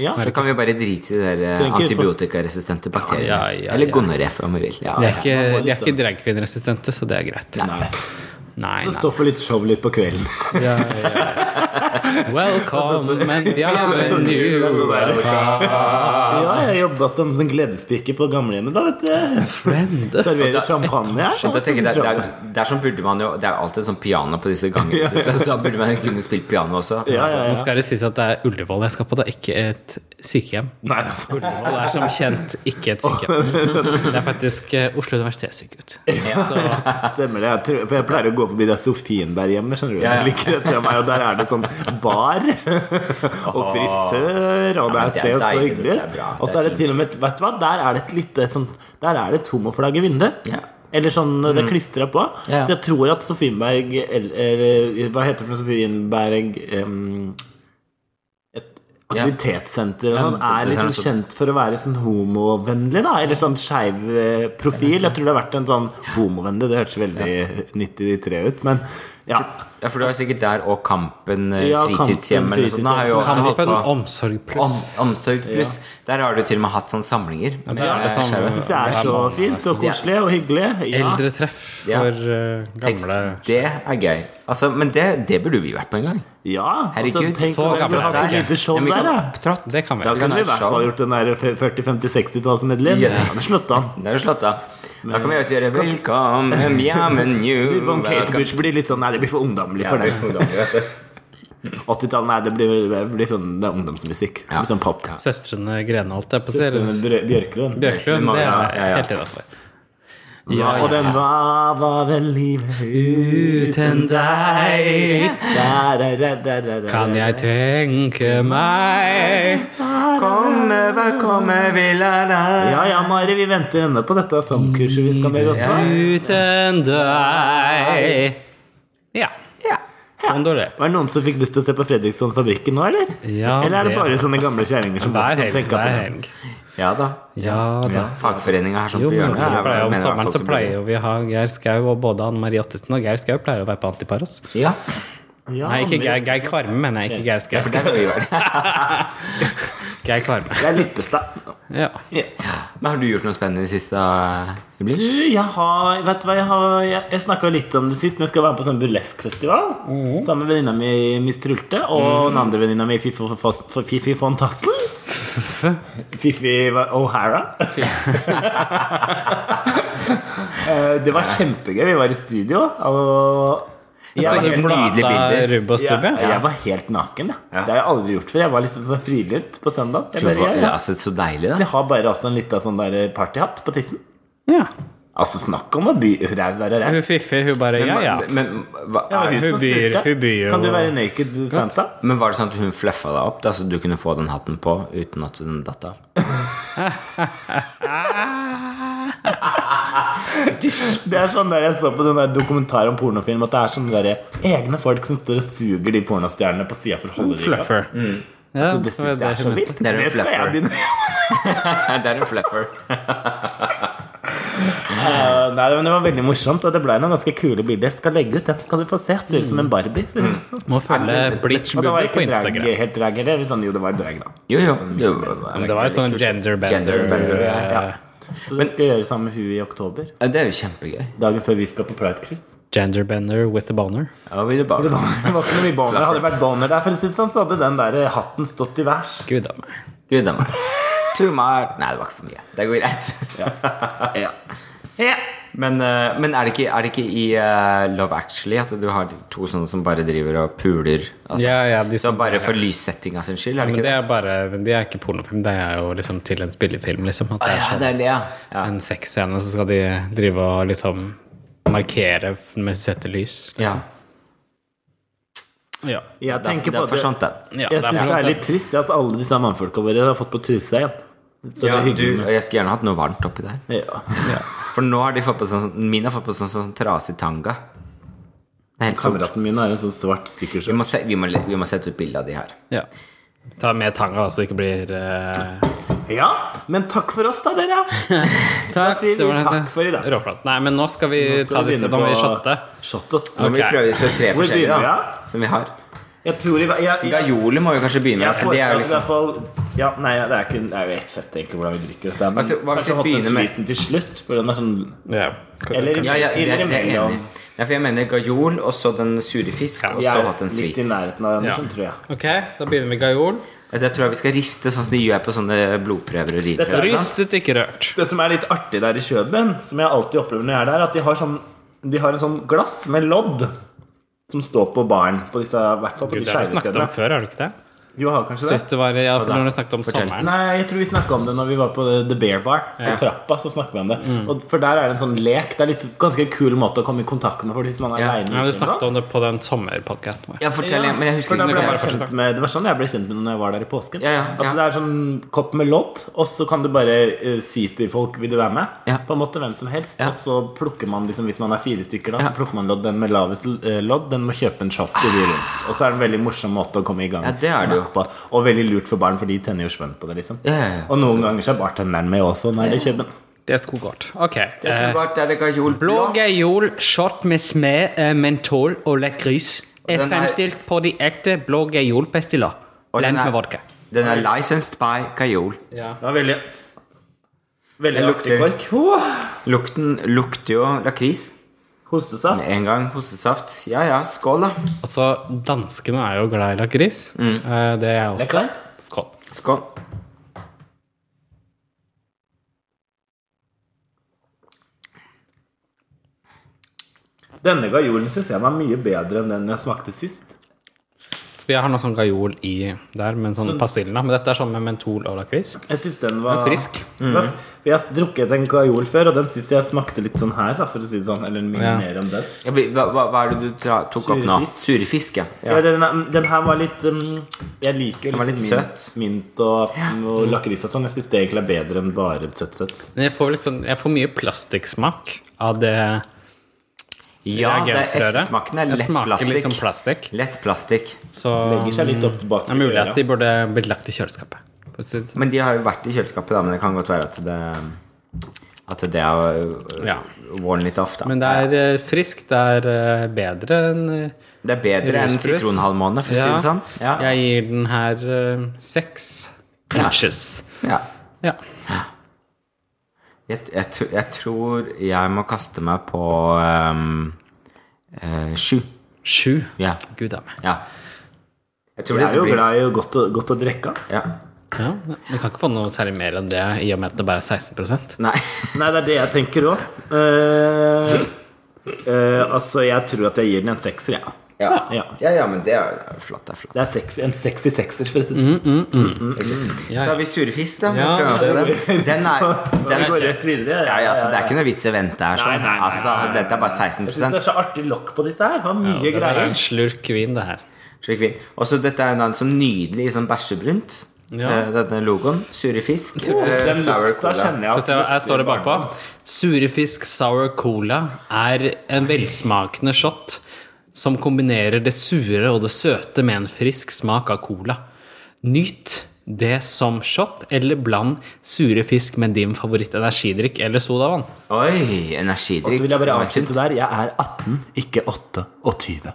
Speaker 1: Ja,
Speaker 3: Så kan vi bare drite i de der eh,
Speaker 1: Trenger ikke-
Speaker 3: antibiotikaresistente bakteriene.
Speaker 2: Ja, ja, ja,
Speaker 3: Eller
Speaker 2: ja.
Speaker 3: gonoré, om vi vil. Ja,
Speaker 2: De
Speaker 3: ja.
Speaker 2: er ikke,
Speaker 1: man må
Speaker 2: de er
Speaker 1: liksom-
Speaker 2: ikke drag queen-resistente, så det er greit.
Speaker 1: Nei.
Speaker 2: Nei,
Speaker 1: Så
Speaker 2: nei.
Speaker 1: stå for litt show litt på kvelden.
Speaker 2: Ja, ja. Welcome and bienvenue.
Speaker 1: Ja, jeg jobba som sånn gledespiker på gamlehjemmet, da, vet du.
Speaker 2: Friend.
Speaker 1: Serverer champagne her. sånn.
Speaker 3: Men da tenker jeg, det, er, det, er, det er sånn burde man jo Det er alltid sånn piano på disse gangene. synes jeg, Så da burde man kunne spilt piano også.
Speaker 1: Ja, ja,
Speaker 2: Nå
Speaker 1: ja.
Speaker 2: skal det sies at det er Ullevål jeg skal på, det er ikke et sykehjem.
Speaker 1: Nei, altså.
Speaker 2: Og det er som kjent ikke et sykehjem. Det er faktisk eh, Oslo universitetssykehus.
Speaker 1: Stemmer det. Jeg, tror, for jeg pleier å gå forbi det Sofienberghjemmet, skjønner du.
Speaker 3: Ja, ja.
Speaker 1: Jeg liker det til meg, og der er det sånn bar og frisør, og det
Speaker 3: men det er
Speaker 1: ser så
Speaker 3: deilig,
Speaker 1: hyggelig
Speaker 3: det er
Speaker 1: ut.
Speaker 3: bra, det
Speaker 1: Og så
Speaker 3: er
Speaker 1: er det til og med Vet du hva, der er det et lite sånn Der er det et homoflagg i vinduet.
Speaker 3: Ja. Mm.
Speaker 1: Eller sånn det er klistra på.
Speaker 3: Ja.
Speaker 1: Så jeg tror at Sofienberg eller, eller Hva heter det for noe Sofienberg em, et Aktivitetssenter og
Speaker 3: Ja,
Speaker 1: sånn er
Speaker 3: det- det er
Speaker 1: liksom
Speaker 3: noe sånt.
Speaker 1: kjent for å være sånn homovennlig, da. Eller sånn skeiv eh, profil. Jeg tror det har vært en sånn homovennlig. Det hørtes veldig 93 ut, men ja.
Speaker 3: Ja, for du har sikkert der og Kampen eh,
Speaker 1: Ja, Kampen,
Speaker 3: fritidshjem eller noe sånt. Da har jo også holdt
Speaker 2: Kampen
Speaker 3: på.
Speaker 2: Omsorg
Speaker 3: Om,
Speaker 2: pluss.
Speaker 3: omsorg pluss. Der har du til og med hatt sånne samlinger.
Speaker 2: er
Speaker 3: Med,
Speaker 2: det
Speaker 3: eh,
Speaker 2: sånn-
Speaker 3: skjerven.
Speaker 1: Jeg syns det er så fint og koselig og hyggelig. Ja.
Speaker 2: Eldretreff
Speaker 3: Ja.
Speaker 2: for eh, gamle
Speaker 3: Det er gøy. Altså, men det, det burde vi vært på en gang.
Speaker 1: ja. Altså,
Speaker 3: Herregud,
Speaker 1: tenk
Speaker 2: så
Speaker 1: om du
Speaker 2: gammel
Speaker 1: har
Speaker 2: er
Speaker 1: hatt
Speaker 2: jeg.
Speaker 1: et lite show
Speaker 3: Ja, men vi
Speaker 1: der,
Speaker 3: kan-
Speaker 1: da.
Speaker 3: opptrådt.
Speaker 2: Det kan vi.
Speaker 1: Da
Speaker 3: vi
Speaker 1: kunne
Speaker 3: ha
Speaker 1: vi i
Speaker 3: et
Speaker 1: hvert fall
Speaker 3: show.
Speaker 1: gjort den der 40-50-60-tallsmedleyen.
Speaker 3: Ja.
Speaker 1: Yeah. Ja, slått an.
Speaker 3: Det er jo slått av. Da kan vi også gjøre 'Velkommen hjem and you'.
Speaker 1: Bon Kate Bush blir litt sånn Nei, det blir for ungdommelig for deg. 80-tallet, nei, det blir, det blir sånn det er ungdomsmusikk.
Speaker 3: Ja.
Speaker 1: Litt sånn pop.
Speaker 2: Søstrene Grenholt, jeg på å si.
Speaker 1: Denne
Speaker 2: eller
Speaker 1: Bjør- Bjørklund.
Speaker 2: Bjørklund, det
Speaker 3: Ja,
Speaker 2: er
Speaker 3: ja, ja.
Speaker 2: jeg helt innafor.
Speaker 1: Ja, Og den var, var vel livet uten deg Da, da, da, da, da, da.
Speaker 2: Kan jeg tenke meg
Speaker 3: Komme, hva komme, vil jeg deg
Speaker 1: Ja ja, Mari, vi venter ennå på dette sangkurset vi skal med oss på.
Speaker 2: uten deg? Ja. sånn Gondolé.
Speaker 1: Var det noen som fikk lyst til å se på Fredriksson Fabrikken nå, eller?
Speaker 2: Ja,
Speaker 1: eller er det
Speaker 2: det-
Speaker 1: bare sånne gamle kjerringer som
Speaker 2: Hver
Speaker 1: bare
Speaker 2: helg.
Speaker 1: tenker
Speaker 2: Hver
Speaker 1: på det?
Speaker 2: helg.
Speaker 3: Ja da.
Speaker 2: Ja da.
Speaker 3: Fagforeninga her som
Speaker 2: Jo,
Speaker 3: på
Speaker 2: men
Speaker 3: hjørnet.
Speaker 2: vi
Speaker 3: er-
Speaker 2: pleier, om
Speaker 3: mener i hvert fall
Speaker 2: sommeren så
Speaker 3: til å bli-
Speaker 2: pleier jo vi å ha Geir Skau, og både Anne Marie Ottesen og Geir Skau pleier å være på Antiparos.
Speaker 3: Ja,
Speaker 1: Ja,
Speaker 2: Nei, ikke
Speaker 1: men-
Speaker 2: Geir, Geir Kvarme, mener jeg, ikke Geir Skau.
Speaker 3: det er jo vi gjør.
Speaker 2: Jeg klarer meg.
Speaker 1: Jeg er Lippestad.
Speaker 2: Ja.
Speaker 1: Ja.
Speaker 3: Men har du gjort noe spennende i det siste? eh,
Speaker 1: Du,
Speaker 3: Emil?
Speaker 1: jeg har Vet du hva, jeg har Jeg, jeg snakka litt om det sist, men jeg skal være med på sånn burleskfestival. Sammen med venninna mi Miss Trulte og den andre venninna mi Fifi Fo- Fo- Fo- Fifi von Tattel. Fifi hva- O'Hara. Eh, det var kjempegøy. Vi var i studio, og
Speaker 2: Så
Speaker 1: var
Speaker 2: du
Speaker 1: helt-
Speaker 3: nydelige
Speaker 2: plata
Speaker 3: bilder.
Speaker 2: Rubb og Stubb,
Speaker 1: ja,
Speaker 2: ja?
Speaker 1: jeg var helt naken. Da.
Speaker 3: Ja.
Speaker 1: Det har jeg aldri gjort før. Jeg var liksom sånn frilynt på søndag. Jeg, bare, ja, ja.
Speaker 3: Altså, så deilig,
Speaker 1: Så
Speaker 3: da.
Speaker 1: jeg har bare også en liten sånn der partyhatt på tissen.
Speaker 2: ja.
Speaker 1: Altså, snakk om å by ræv være ræv.
Speaker 2: Hun Fiffi, hun bare Ja, ja.
Speaker 3: Men, men, hva,
Speaker 1: Det var
Speaker 3: er,
Speaker 1: hun som
Speaker 2: Hun byr-
Speaker 1: spurte.
Speaker 2: hun byr jo-
Speaker 1: Kan du være naked Santa?
Speaker 3: men var det sånn at hun fluffa deg opp, da, så du kunne få den hatten på uten at den datt av?
Speaker 1: Det er sånn der Jeg så på den der dokumentar om pornofilm at det er sånne der egne folk som står og suger de pornostjernene på sida for å holde dem i gang.
Speaker 2: Fluffer. Ja,
Speaker 1: Så
Speaker 2: det
Speaker 1: Det
Speaker 2: var
Speaker 1: synes jeg er
Speaker 2: det
Speaker 1: så
Speaker 2: hun mente.
Speaker 1: vilt.
Speaker 3: Det er en
Speaker 1: Det skal jeg
Speaker 3: fluffer.
Speaker 1: begynne med.
Speaker 3: det er en fluffer.
Speaker 1: Eh, Nei, men Det var veldig morsomt, og det ble noen ganske kule bilder. Jeg skal legge ut dem, skal du få se. Ser ut som en Barbie.
Speaker 2: Må følge Bleach
Speaker 1: Og det var
Speaker 2: Booby på
Speaker 1: ikke drag,
Speaker 2: Instagram.
Speaker 1: helt drag, eller sånn, jo, det var drag, da.
Speaker 3: Jo, jo. Det
Speaker 2: Men Det var et sånn genderbender.
Speaker 3: Genderbender, ja,
Speaker 1: ja. Så det skal jeg gjøre sammen med hun i oktober.
Speaker 3: Ja, Det er jo kjempegøy.
Speaker 1: Dagen før vi skal på Pride Cruise.
Speaker 2: Genderbender with a boner.
Speaker 3: Ja, vil du bare-
Speaker 1: Det var, det var ikke noe mye boner. Hadde det vært boner der, for å si det sånn, så hadde den der eh, hatten stått i værs.
Speaker 2: Gud a meg.
Speaker 3: Gud a meg. Too much. Nei, det var ikke for mye. Det går greit. Ja. Men, eh, men er, det ikke, er det ikke i eh, Love Actually at du har to sånne som bare driver og puler? Altså,
Speaker 2: Ja, ja, de
Speaker 3: Så
Speaker 2: som,
Speaker 3: bare for lyssettinga sin skyld? Er det
Speaker 2: men
Speaker 3: ikke
Speaker 2: det
Speaker 3: det?
Speaker 2: er bare men Det er ikke pornofilm, det er jo liksom til en spillefilm, liksom. At det er
Speaker 3: Ja, det er det, ja. ja.
Speaker 2: en sexscene, så skal de drive og liksom markere mens de setter lys.
Speaker 3: ja.
Speaker 2: Ja.
Speaker 1: Jeg tenker
Speaker 3: Da
Speaker 1: på det.
Speaker 3: forsvant den.
Speaker 2: ja
Speaker 1: sånn-
Speaker 2: sånn-
Speaker 1: Jeg syns det
Speaker 2: flott,
Speaker 1: er litt trist at alle disse mannfolka våre har fått på trusa igjen. Så
Speaker 3: Ja,
Speaker 1: så
Speaker 3: du,
Speaker 1: hyggelig.
Speaker 3: jeg skulle gjerne hatt noe varmt oppi der.
Speaker 1: Ja.
Speaker 3: For nå har de fått på sånn Min har fått på sånn, sånn trasig tanga. Det er helt sort.
Speaker 1: Kameraten min har en sånn svart
Speaker 3: Vi
Speaker 1: sykkelskjorte.
Speaker 3: må, se, vi, må, vi må sette ut bilde av de her.
Speaker 2: Ja. Ta med tanga, da, så det ikke blir eh,
Speaker 1: Ja, men takk for oss, da, dere. Da
Speaker 2: Takk,
Speaker 1: sier
Speaker 2: det
Speaker 1: vi
Speaker 2: var det.
Speaker 1: takk for i dag.
Speaker 2: Råflott. Nei, men nå skal vi
Speaker 1: Nå skal
Speaker 2: ta
Speaker 1: vi
Speaker 2: disse.
Speaker 1: begynne
Speaker 2: Nå må vi
Speaker 1: på-
Speaker 2: shotte.
Speaker 1: Shot oss.
Speaker 3: Så må vi
Speaker 2: Ok.
Speaker 3: prøver se tre
Speaker 1: Hvor
Speaker 3: forskjellige da,
Speaker 1: begynner
Speaker 3: som vi har.
Speaker 1: Jeg tror jeg, jeg, jeg,
Speaker 3: Gajole må vi kanskje
Speaker 1: jeg
Speaker 3: begynne med. For det er
Speaker 1: foreslår i
Speaker 3: jo
Speaker 1: hvert
Speaker 3: liksom
Speaker 1: fall ja, Nei, det er, kun, det er jo ett fett, egentlig, hvordan vi drikker dette. Men
Speaker 3: Altså, hva hvis vi
Speaker 1: kanskje holdt den
Speaker 3: begynner
Speaker 1: sliten
Speaker 3: med-
Speaker 1: til slutt, for den er sånn
Speaker 2: Ja.
Speaker 1: Eller
Speaker 3: ja, ja, det, det
Speaker 1: eller
Speaker 3: er jeg
Speaker 1: imellom.
Speaker 3: enig. i. Ja, for jeg mener gajol, og så den sure fisk, og
Speaker 1: Vi
Speaker 3: så
Speaker 1: er
Speaker 3: hatt en
Speaker 1: litt
Speaker 3: sweet.
Speaker 1: i nærheten av
Speaker 2: Ja.
Speaker 1: Andersen, tror jeg.
Speaker 2: Ok, da begynner vi gajol.
Speaker 3: Jeg tror jeg vi skal riste sånn som de gjør på sånne blodprøver og
Speaker 1: Dette er
Speaker 3: rideprøver. sant?
Speaker 2: Rystet, ikke rørt.
Speaker 1: Det som er litt artig der i Kjøben, som jeg alltid opplever når jeg er der, at de har, sånn, de har en sånn glass med lodd som står på baren. På disse, i hvert fall på
Speaker 2: Gud,
Speaker 1: de
Speaker 2: det har vi
Speaker 1: skeive
Speaker 2: snakket
Speaker 1: stedene.
Speaker 2: om før, har du ikke det?
Speaker 1: Jo, har kanskje det?
Speaker 2: Sist det var ja, for
Speaker 1: da?
Speaker 2: når du snakket om
Speaker 3: Fortell.
Speaker 2: sommeren.
Speaker 1: Nei, jeg tror vi snakka om det når vi var på The Bear Bar. På trappa så snakket vi om det.
Speaker 2: Mm.
Speaker 1: Og for der er det en sånn lek. Det er litt ganske kul måte å komme i kontakt med folk hvis man er
Speaker 3: Ja.
Speaker 1: alene
Speaker 2: Ja, du
Speaker 1: ute
Speaker 2: snakket
Speaker 1: nå.
Speaker 2: om det på den sommerpodkasten vår.
Speaker 3: Ja, fortell
Speaker 1: Ja,
Speaker 3: igjen, men jeg
Speaker 1: for
Speaker 3: husker
Speaker 1: da
Speaker 3: ikke
Speaker 1: ble
Speaker 3: noe.
Speaker 1: jeg
Speaker 3: mer.
Speaker 1: bare kjent med, det var sånn jeg ble kjent med når jeg var der i påsken.
Speaker 3: Ja, ja, ja.
Speaker 1: At det er sånn kopp med lodd, og så kan du bare eh, si til folk 'vil du være med?'
Speaker 3: Ja.
Speaker 1: På en måte hvem som helst.
Speaker 3: Ja.
Speaker 1: Og så plukker man, liksom, hvis man er fire stykker, da,
Speaker 3: Ja.
Speaker 1: så plukker man lodd. Den med lavest eh, lodd, den må kjøpe en shot og de rundt. Og så er det en veldig morsom måte å komme i gang
Speaker 3: Ja, det er det jo.
Speaker 1: på. Og veldig lurt for barn, for de tenner jo spenn på det, liksom.
Speaker 3: Ja, ja, ja.
Speaker 1: Og noen ganger så er bartenderen med også. Nei, det kjøper den.
Speaker 2: Det er skogart. Ok.
Speaker 3: Jeg skulle
Speaker 2: eh,
Speaker 3: bare der det gajol
Speaker 2: Blå
Speaker 3: blå.
Speaker 2: gajol, shot med smed, eh, mentol og lakris, er
Speaker 3: den er-
Speaker 2: fremstilt på de ekte blå gajolpestiller.
Speaker 3: Og den
Speaker 2: Blend
Speaker 3: er-
Speaker 2: med vodka.
Speaker 3: Den er licensed by gajol.
Speaker 1: Det var veldig Veldig
Speaker 3: Jeg
Speaker 1: artig
Speaker 3: lukter-
Speaker 1: kork. Åh!
Speaker 3: Lukten lukter jo lakris.
Speaker 1: Hostesaft.
Speaker 3: En gang hostesaft. Ja ja, skål, da.
Speaker 2: Altså, danskene er jo glad i lakris. Eh, Det er jeg
Speaker 1: Mm. Det er
Speaker 2: også.
Speaker 1: klart.
Speaker 2: Skål.
Speaker 3: Skål.
Speaker 1: Denne gajolen syns jeg var mye bedre enn den jeg smakte sist.
Speaker 2: Vi har noe sånn gajol i der, men sånn persille. da. Men dette er sånn med mentol og lakris.
Speaker 1: Jeg syns den var
Speaker 2: Den er frisk.
Speaker 1: Ja, for Jeg har drukket en gajol før, og den syns jeg smakte litt sånn her. Da, for å si det sånn, Eller mye
Speaker 2: Ja.
Speaker 1: mer enn den.
Speaker 3: Ja, vi- hva, hva, hva er det du tra tok opp nå?
Speaker 1: Sure fisk.
Speaker 3: Sure fisk, ja.
Speaker 1: Ja. Den, den her var litt um, Jeg liker jo
Speaker 3: var
Speaker 1: liksom
Speaker 3: litt
Speaker 1: mint, mint og, og lakris og sånn. Jeg syns det egentlig er bedre enn bare søtt-søtt.
Speaker 2: Men jeg får, litt sånn- jeg får mye plastikksmak av det
Speaker 3: Ja, det er
Speaker 2: reagensrøret.
Speaker 3: ettersmaken er
Speaker 2: Det
Speaker 3: lett
Speaker 2: smaker litt som
Speaker 3: plastikk.
Speaker 2: plastikk.
Speaker 3: Lett plastikk.
Speaker 2: Så
Speaker 1: Legger seg litt opp bak
Speaker 2: det er mulig
Speaker 1: øra.
Speaker 2: at de burde blitt lagt i kjøleskapet. for å si det sånn.
Speaker 3: Men de har jo vært i kjøleskapet, da, men det kan godt være at det At det har øh,
Speaker 2: Ja.
Speaker 3: worn litt off, da.
Speaker 2: Men det er eh, friskt. Det er eh, bedre enn eh,
Speaker 3: det er bedre enn
Speaker 2: rusbrus.
Speaker 3: sånn. sitronhalvmåne, for å si det sånn. Ja.
Speaker 2: Jeg gir den her eh, seks Conscious.
Speaker 3: Ja.
Speaker 2: Ja.
Speaker 3: Jeg, jeg, tr- jeg tror jeg må kaste meg på ehm, eh, sju.
Speaker 2: Sju.
Speaker 3: Ja.
Speaker 2: Gud a meg.
Speaker 3: ja. Jeg tror
Speaker 1: Jeg er
Speaker 3: dette
Speaker 1: jo
Speaker 3: blir
Speaker 1: glad i å godt, å- godt å drikke.
Speaker 3: ja.
Speaker 2: Ja, du kan ikke få noe særlig mer enn det, i og med at det bare er 16
Speaker 3: Nei.
Speaker 1: Nei, det er det jeg tenker òg. altså, jeg tror at jeg gir den en sekser, jeg.
Speaker 3: Ja.
Speaker 1: Ja.
Speaker 3: ja, ja, men det er jo- det er jo flott. Det er flott.
Speaker 1: Det er seks, en sexy sekser, for å si det
Speaker 2: Ja,
Speaker 3: Så har vi surefist, da. Vi
Speaker 2: Ja,
Speaker 3: prøver oss på den. Den er, den
Speaker 1: Jeg går rett videre.
Speaker 3: ja, ja, så Det er ikke noe vits i å vente her.
Speaker 1: Nei,
Speaker 3: Sånn.
Speaker 1: nei, nei,
Speaker 3: Altså,
Speaker 1: nei, nei,
Speaker 3: dette er bare
Speaker 1: Jeg synes
Speaker 3: 16
Speaker 1: det er så artig lokk på disse her. Det var mye
Speaker 2: Det er en
Speaker 1: greier.
Speaker 2: slurk vin, det her.
Speaker 3: Slik vi- Og så dette er jo da en sånn nydelig sånn bæsjebrunt.
Speaker 2: Ja.
Speaker 3: eh, Denne logoen. Sure fisk. eh,
Speaker 1: Den
Speaker 3: sour
Speaker 1: lukta
Speaker 3: cola.
Speaker 1: kjenner jeg
Speaker 2: Få se, Her står det bakpå. Surefisk sour cola er en velsmakende shot som kombinerer det sure og det søte med en frisk smak av cola. Nyt det som shot, eller bland sure fisk med din favorittenergidrikk eller sodavann.
Speaker 3: Oi,
Speaker 1: Og så
Speaker 3: energidrikk.
Speaker 1: vil jeg bare
Speaker 3: som er sunt.
Speaker 1: avslutte der. Jeg er 18, ikke 8 og 20.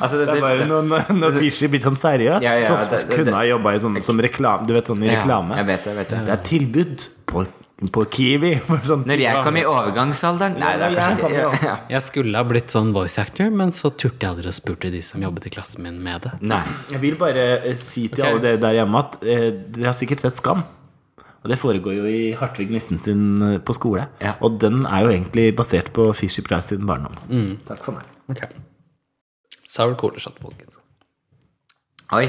Speaker 3: Altså, dette,
Speaker 1: Det er bare når, når, når Fishy blir sånn seriøs,
Speaker 3: Ja, ja,
Speaker 1: så
Speaker 3: det- det-
Speaker 1: kunne jeg jobba i sånn som reklame. Du vet, sånn i
Speaker 3: Ja,
Speaker 1: reklame.
Speaker 3: jeg vet det, jeg vet det.
Speaker 1: er tilbud på, på Kiwi. Bare Sånn.
Speaker 3: Når jeg kom i overgangsalderen Nei,
Speaker 1: når
Speaker 3: det er kanskje
Speaker 1: jeg
Speaker 3: ikke
Speaker 1: kom i
Speaker 3: ja,
Speaker 1: overgang-
Speaker 3: ja.
Speaker 2: Jeg skulle ha blitt sånn voice actor, men så turte jeg aldri å spurte de som jobbet i klassen min med det.
Speaker 3: Nei.
Speaker 1: Jeg vil bare eh, si til
Speaker 2: Ok.
Speaker 1: alle dere der hjemme at eh, dere har sikkert sett Skam. Og det foregår jo i Hartvig Nissen sin eh, på skole.
Speaker 3: Ja.
Speaker 1: Og den er jo egentlig basert på Fishy Price sin barndom.
Speaker 2: Mm.
Speaker 1: Takk for meg.
Speaker 2: Sour cola shot, folkens.
Speaker 3: Oi.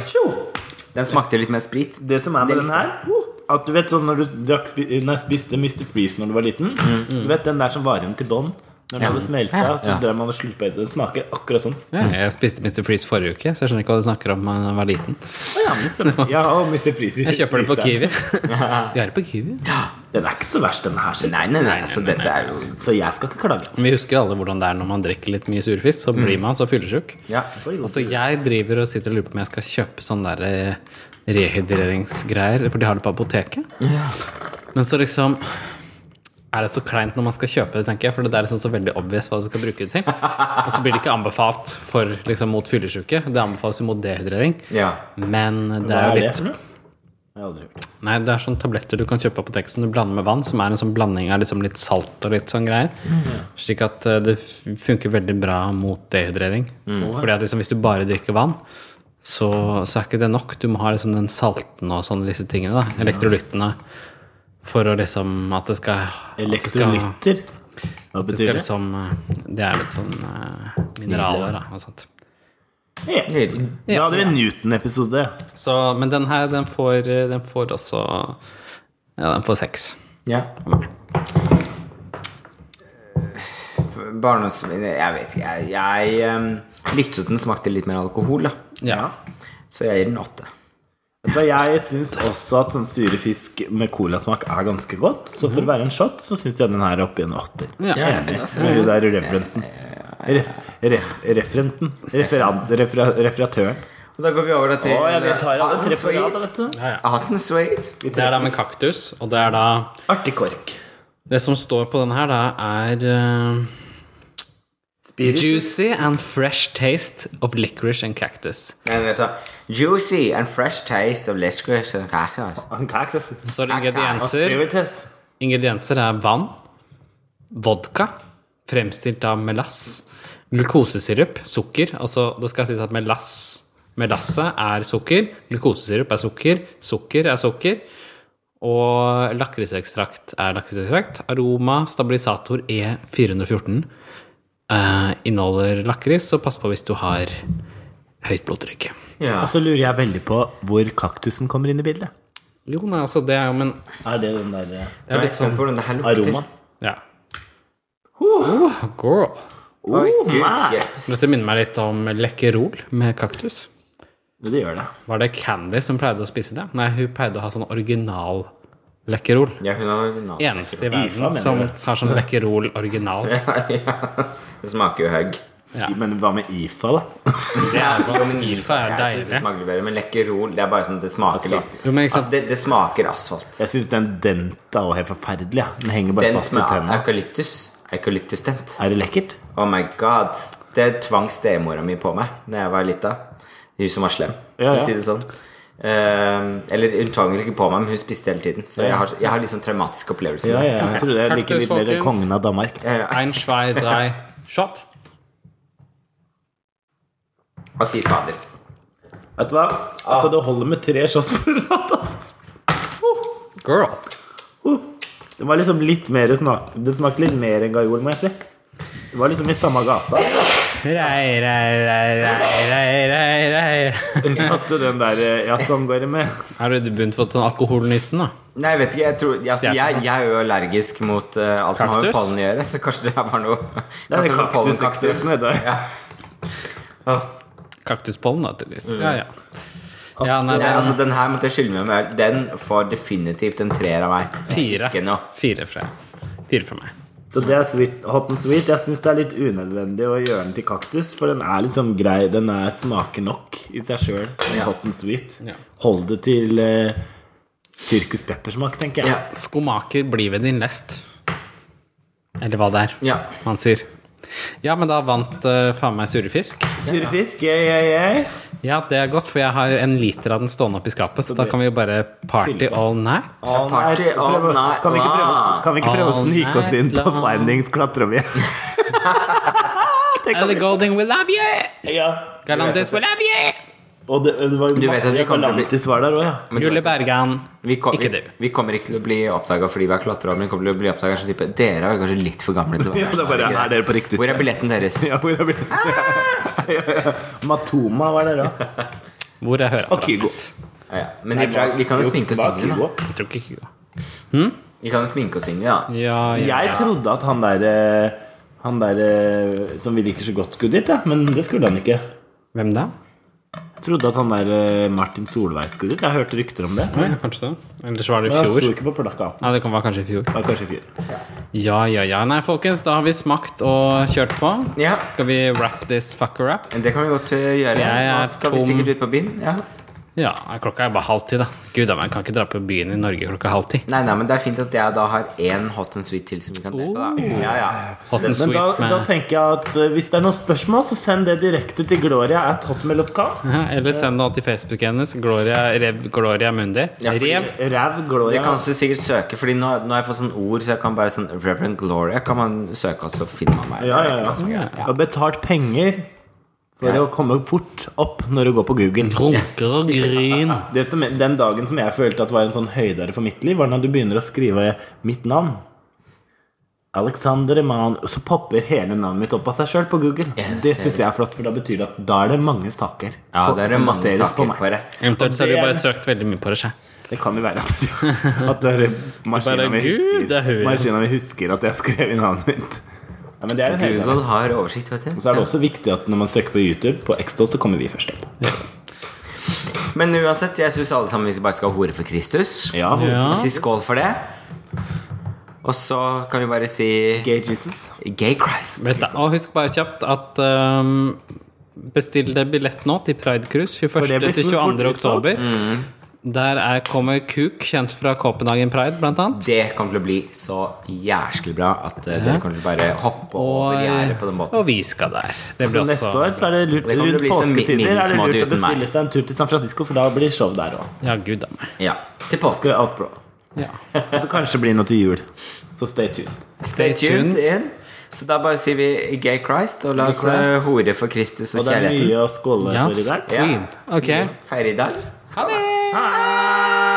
Speaker 3: Den smakte litt mer sprit.
Speaker 1: Det som er med den her uh, At du vet sånn når du drakk, spi- nei, spiste Mr. Freeze når du var liten
Speaker 2: Mm.
Speaker 1: Du vet den der som var igjen til bånn Når den hadde smelta,
Speaker 3: Ja.
Speaker 1: så drev man og slurpa i det. Den smaker akkurat sånn.
Speaker 2: Ja, jeg spiste Mr. Freeze forrige uke, så jeg skjønner ikke hva du snakker om da jeg var liten.
Speaker 1: Ja, og Mr. Freeze
Speaker 2: Jeg kjøper det på
Speaker 1: Freeze.
Speaker 2: Kiwi. Vi har det på Kiwi.
Speaker 1: Den er ikke så verst, den her. sier jeg.
Speaker 3: Nei, nei, nei. Altså, dette er jo
Speaker 1: Så jeg skal ikke klage.
Speaker 2: Vi husker jo alle hvordan det er når man drikker litt mye surfisk, så
Speaker 1: Mm.
Speaker 2: blir man så fyllesyk.
Speaker 3: Ja.
Speaker 2: Altså, jeg driver og sitter og lurer på om jeg skal kjøpe sånne der eh, rehydreringsgreier, for de har det på apoteket. Men så liksom er det så kleint når man skal kjøpe det, tenker jeg, for det er liksom så veldig obvious hva du skal bruke det til. Og så blir det ikke anbefalt for, liksom, mot fyllesyke. Det anbefales jo mot dehydrering.
Speaker 3: ja.
Speaker 2: Men det
Speaker 1: Hva
Speaker 2: er jo
Speaker 1: er det
Speaker 2: litt
Speaker 1: for noe? Jeg har aldri hørt.
Speaker 2: Nei, det er sånne tabletter du kan kjøpe på apoteket som du blander med vann, som er en sånn blanding av liksom litt salt og litt sånn greier. Slik at eh, det f- funker veldig bra mot dehydrering. Fordi at liksom, hvis du bare drikker vann, så, så er ikke det nok. Du må ha liksom den salten og sånne disse tingene, da. Elektrolyttene. For å liksom at det skal at det skal-
Speaker 1: Elektrolytter? Hva
Speaker 2: det skal
Speaker 1: betyr det?
Speaker 2: liksom eh, Det er litt sånn eh, mineraler da, og sånt.
Speaker 1: Ja.
Speaker 3: Nydelig.
Speaker 1: Da hadde vi en Newton-episode.
Speaker 2: Så, men den her, den får, eh, den får også Ja, den får seks.
Speaker 3: Ja. Barndomsminner Jeg vet ikke. Jeg, jeg ehm, likte at den smakte litt mer alkohol, da.
Speaker 2: Ja.
Speaker 3: Så jeg gir den åtte.
Speaker 1: Vet du hva, Jeg syns også at sånn syrefisk med colasmak er ganske godt. Så for å være en shot, så syns jeg den her er oppi en åtter.
Speaker 2: Ja.
Speaker 1: Jeg er enig med det der referenten. Ref, ref, referenten. Referan, refera, referatøren.
Speaker 3: Og da går vi over da til
Speaker 1: Å, jeg vil ta av tre på
Speaker 3: Hatten
Speaker 1: rad,
Speaker 3: Sweet.
Speaker 1: vet du.
Speaker 3: Hatten Sweet.
Speaker 2: Det er da med kaktus, og det er da
Speaker 1: Artig kork.
Speaker 2: Det som står på den her, da, er eh,
Speaker 1: Spiritus.
Speaker 2: Juicy and fresh taste of licorice and cactus.
Speaker 3: Nei, men altså, Juicy and fresh taste of licorice and cactus.
Speaker 1: Cactus.
Speaker 2: Det står
Speaker 3: Cacti.
Speaker 2: ingredienser.
Speaker 1: Spiritus.
Speaker 2: Ingredienser er vann, vodka, fremstilt av melass, glukosesirup, sukker Altså, det skal sies at melass Melasset er sukker, glukosesirup er sukker, sukker er sukker, og lakrisekstrakt er lakrisekstrakt. Aroma, stabilisator E414 eh, inneholder lakris, så pass på hvis du har høyt blodtrykk.
Speaker 3: Ja.
Speaker 1: Og så lurer jeg veldig på hvor kaktusen kommer inn i bildet.
Speaker 2: Jo, nei, altså, det er jo Men
Speaker 1: Er det den der eh,
Speaker 2: det er litt sånn
Speaker 3: på hvordan det her lukter.
Speaker 1: aromaen?
Speaker 2: Ja. Oh, girl.
Speaker 3: Oi,
Speaker 1: Oh,
Speaker 3: gud,
Speaker 1: my.
Speaker 3: yes.
Speaker 2: Dette minner meg litt om Lekkerol med kaktus.
Speaker 1: Det gjør det.
Speaker 2: Var det Candy som pleide å spise det? Nei, hun pleide å ha sånn original Lekkerol.
Speaker 3: Ja, hun har original.
Speaker 2: Eneste i
Speaker 1: Ifa,
Speaker 2: verden
Speaker 1: mener
Speaker 2: som
Speaker 1: du?
Speaker 2: har sånn Lekkerol original.
Speaker 3: Det smaker jo hugg.
Speaker 2: Ja.
Speaker 1: Men hva med IFA, da?
Speaker 2: Det er godt. Ifa er
Speaker 3: Jeg synes det
Speaker 2: deilig.
Speaker 3: smaker bedre, men lekkerol Det er bare sånn, det smaker litt
Speaker 2: Jo, men ikke sant?
Speaker 3: Altså, det, det smaker asfalt.
Speaker 1: Jeg syns den denta òg er helt forferdelig. ja. Den henger bare
Speaker 3: Dent
Speaker 1: fast i
Speaker 3: med
Speaker 1: tennene.
Speaker 3: eukalyptus. Eukalyptusdent.
Speaker 1: Er det lekkert?
Speaker 3: Oh my god. Det tvang stemora mi på meg da jeg var lita. Hun som var slem, for
Speaker 1: Ja,
Speaker 3: å
Speaker 1: ja.
Speaker 3: si det sånn. Eh, eller hun tvang vel ikke på meg, men hun spiste hele tiden. Så jeg har, jeg har liksom traumatiske opplevelser.
Speaker 1: Ja,
Speaker 3: med det.
Speaker 1: ja, jeg tror det er like
Speaker 2: Kaktus,
Speaker 1: litt mer
Speaker 2: folkens.
Speaker 1: kongen av Danmark.
Speaker 3: Ja, ja.
Speaker 2: Ein, zwei, drei, shot.
Speaker 3: Å, fy fader.
Speaker 1: Vet du hva? Altså, det holder med tre shots på rad. ass.
Speaker 2: Girl.
Speaker 1: Det var liksom litt mer smak Det smakte litt mer enn gajol, må jeg si. Det var liksom i samme gata.
Speaker 2: Rei, rei, rei, rei, rei, rei, rei.
Speaker 1: Du satte den der eh, Ja, sånn går det med.
Speaker 2: Har du begynt å få sånn alkoholnysten, da?
Speaker 3: Nei, jeg vet ikke. Jeg, tror, jeg, altså, jeg, jeg er jo allergisk mot eh, alt som har med
Speaker 2: Kaktus?
Speaker 3: pollen å gjøre, så kanskje det her var noe
Speaker 1: Det er
Speaker 3: kanskje
Speaker 1: den
Speaker 3: noe
Speaker 1: kaktuseksploden nede der.
Speaker 3: Ja.
Speaker 2: Kaktuspollen, da, tydeligvis. Ja, ja. Ja, nei,
Speaker 3: Nei,
Speaker 2: den
Speaker 3: altså, den her måtte jeg skylde meg med. Den får definitivt en treer av meg.
Speaker 2: fire.
Speaker 3: Ikke noe.
Speaker 2: Fire fra, fire fra meg.
Speaker 1: Så det er sweet, hot and sweet. Jeg syns det er litt unødvendig å gjøre den til kaktus, for den er liksom grei. Den er smaker nok i seg sjøl.
Speaker 3: Ja.
Speaker 1: Hot and sweet.
Speaker 2: Ja.
Speaker 1: Hold det til eh, tyrkisk peppersmak, tenker jeg.
Speaker 3: Ja.
Speaker 2: Skomaker, bli ved din lest. Eller hva det er
Speaker 3: Ja.
Speaker 2: man sier. Ja, men da vant eh, faen meg surrefisk.
Speaker 1: Surfisk, yeah, yeah, yeah.
Speaker 2: Ja, det er godt, for jeg har en liter av den stående oppi skapet, så da
Speaker 1: det-
Speaker 2: kan vi jo bare party all night.
Speaker 1: All
Speaker 3: Party
Speaker 1: night.
Speaker 3: all
Speaker 1: Prøv å-
Speaker 3: night
Speaker 1: Kan vi ikke prøve, å-
Speaker 3: long.
Speaker 1: kan vi ikke prøve å
Speaker 2: All
Speaker 1: snike oss inn
Speaker 2: night
Speaker 1: på
Speaker 2: long.
Speaker 1: Findings klatrevje? Tenk om
Speaker 2: Ellie
Speaker 1: vi-
Speaker 2: Golding, we love you!
Speaker 1: ja.
Speaker 2: Galantis, we love you!
Speaker 1: Og det, det var jo
Speaker 3: Du vet at vi
Speaker 1: masse
Speaker 3: kommer til å bli-
Speaker 1: galantis var der òg, ja.
Speaker 3: Men du
Speaker 2: Julie
Speaker 3: vet at-
Speaker 2: Bergan.
Speaker 3: Vi, kom,
Speaker 2: Ikke
Speaker 3: vi,
Speaker 2: du.
Speaker 3: vi kommer ikke til å bli oppdaga fordi vi er klatrere. Men vi kommer til å bli oppdaget som type Dere er kanskje litt for gamle til å
Speaker 1: Ja,
Speaker 3: være
Speaker 1: det er bare,
Speaker 3: sånn,
Speaker 1: er dere på
Speaker 3: ikke?
Speaker 1: riktig
Speaker 3: Hvor er
Speaker 1: sted?
Speaker 3: billetten deres?
Speaker 1: Ja, hvor er billetten? Ja, ja. Matoma var der òg.
Speaker 2: Hvor er
Speaker 1: Og
Speaker 2: høreapparatet
Speaker 1: Kygo.
Speaker 2: mitt?
Speaker 3: Ja, ja. Men i drag, vi kan jo sminke og synge, da.
Speaker 2: Jeg tror ikke Kygo.
Speaker 3: Vi kan jo sminke og synge, da.
Speaker 2: Ja, ja,
Speaker 1: Jeg
Speaker 2: ja.
Speaker 1: trodde at han der eh, Han der eh, som vi liker så godt, skulle dit, ja. men det skulle han ikke.
Speaker 2: Hvem da?
Speaker 1: Jeg trodde at han der eh, Martin Solveig skulle dit. Jeg hørte rykter om det.
Speaker 2: Å, ja, kanskje det. Ellers var det
Speaker 1: Men
Speaker 2: i
Speaker 1: han sto
Speaker 2: fjor.
Speaker 1: ikke på plakaten.
Speaker 2: Ja, det kan være kanskje i fjor.
Speaker 1: Det var kanskje i fjor.
Speaker 2: Ja, ja, ja. Nei, folkens, da har vi smakt og kjørt på.
Speaker 3: Ja,
Speaker 2: Skal vi wrap this fucker up?
Speaker 3: det kan vi godt eh, gjøre.
Speaker 2: Jeg er
Speaker 3: Nå skal vi
Speaker 2: tom.
Speaker 3: sikkert ut på byen. Ja.
Speaker 2: Ja, klokka er bare halv ti, da. Gud a meg, jeg kan ikke dra på byen i Norge klokka halv ti.
Speaker 3: Nei, nei, men det er fint at jeg da har én hot and sweet til som vi kan dele på, da.
Speaker 2: Oh.
Speaker 3: Ja, ja.
Speaker 2: Hot
Speaker 1: Men
Speaker 2: and
Speaker 1: da,
Speaker 2: sweet
Speaker 1: da
Speaker 2: med
Speaker 1: tenker jeg at eh, hvis det er noen spørsmål, så send det direkte til Gloria at hotmail.com.
Speaker 2: Ja, Eller send det til Facebook hennes. Gloria, Rev, Gloria Mundi.
Speaker 3: Ja, fordi-
Speaker 2: Rev.
Speaker 1: Ræv
Speaker 3: Det
Speaker 1: Gloria.
Speaker 3: kan også sikkert søke, Fordi nå, nå har jeg fått sånn ord, så jeg kan bare sånn Reverend Gloria kan man søke, og så finner man meg.
Speaker 1: Ja,
Speaker 3: Jeg
Speaker 1: ja,
Speaker 3: vet ikke hva som er
Speaker 1: ja.
Speaker 3: greia.
Speaker 1: Og betalt penger for
Speaker 3: Ja.
Speaker 1: å komme fort opp når du går på Google.
Speaker 2: Runker og gryn.
Speaker 1: Det som, den dagen som jeg følte at var en sånn høydere for mitt liv, var når du begynner å skrive mitt navn. Alexander Eman Så popper hele navnet mitt opp av seg sjøl på Google.
Speaker 3: Jeg
Speaker 1: Det
Speaker 3: ser
Speaker 1: syns jeg er flott, for da betyr det at da er det mange saker.
Speaker 3: Ja,
Speaker 1: på-
Speaker 3: det er
Speaker 1: som
Speaker 3: mange
Speaker 1: baseres
Speaker 3: saker
Speaker 1: meg.
Speaker 3: på det.
Speaker 2: Eventuelt så har
Speaker 1: Og
Speaker 2: du
Speaker 1: det-
Speaker 2: bare søkt veldig mye på det sjøl.
Speaker 1: Det kan jo være at, at det er maskina
Speaker 2: Bare,
Speaker 1: mi
Speaker 2: Gud, det er
Speaker 1: husker,
Speaker 2: hun.
Speaker 1: maskinen min husker at jeg skrev inn navnet mitt. Ja, men det er en høydere.
Speaker 3: Google har oversikt, vet du.
Speaker 1: Så er det også viktig at når man søker på YouTube, på Xdol, så kommer vi først opp.
Speaker 3: Men uansett, jeg syns alle sammen vi bare skal hore for Kristus.
Speaker 1: Ja,
Speaker 2: Ja.
Speaker 3: Og si skål for det. Og så kan vi bare si
Speaker 1: Gay Jesus.
Speaker 3: Gay Christ.
Speaker 2: Vet du, og husk bare kjapt at um, bestill deg billett nå til Pride Cruise 21.
Speaker 1: det blir
Speaker 2: til
Speaker 1: fort
Speaker 2: 22.
Speaker 1: utsolgt.
Speaker 2: oktober. Der er, kommer Kuk, kjent fra Copenhagen Pride, blant annet.
Speaker 3: Det kommer til å bli så jæskelig bra at eh, dere kommer til å bare hoppe over gjerdet på den måten.
Speaker 2: og vi skal der. Det
Speaker 1: Så neste år så er det lurt
Speaker 3: Det kommer til å
Speaker 1: rundt
Speaker 3: bli sånn
Speaker 1: påsketider
Speaker 3: middels
Speaker 1: er det
Speaker 3: mat
Speaker 1: lurt å
Speaker 3: uten meg.
Speaker 1: bestille seg en tur til San Francisco, for da blir show der òg.
Speaker 2: Ja, gud a meg.
Speaker 3: Ja. Til påske.
Speaker 2: Ja.
Speaker 1: Og så kanskje blir det noe til jul. Så stay tuned.
Speaker 3: Stay tuned
Speaker 2: tuned.
Speaker 3: in. Så da bare sier vi Gay Christ, og la oss
Speaker 1: Christ.
Speaker 3: eh, hore for Kristus og
Speaker 1: Og det er
Speaker 3: kjærligheten.
Speaker 1: mye å skåle
Speaker 2: Ja,
Speaker 1: for i dag.
Speaker 3: Ja.
Speaker 2: queen. Ok.
Speaker 3: Feire i dag.
Speaker 2: Ha det!
Speaker 3: Hei!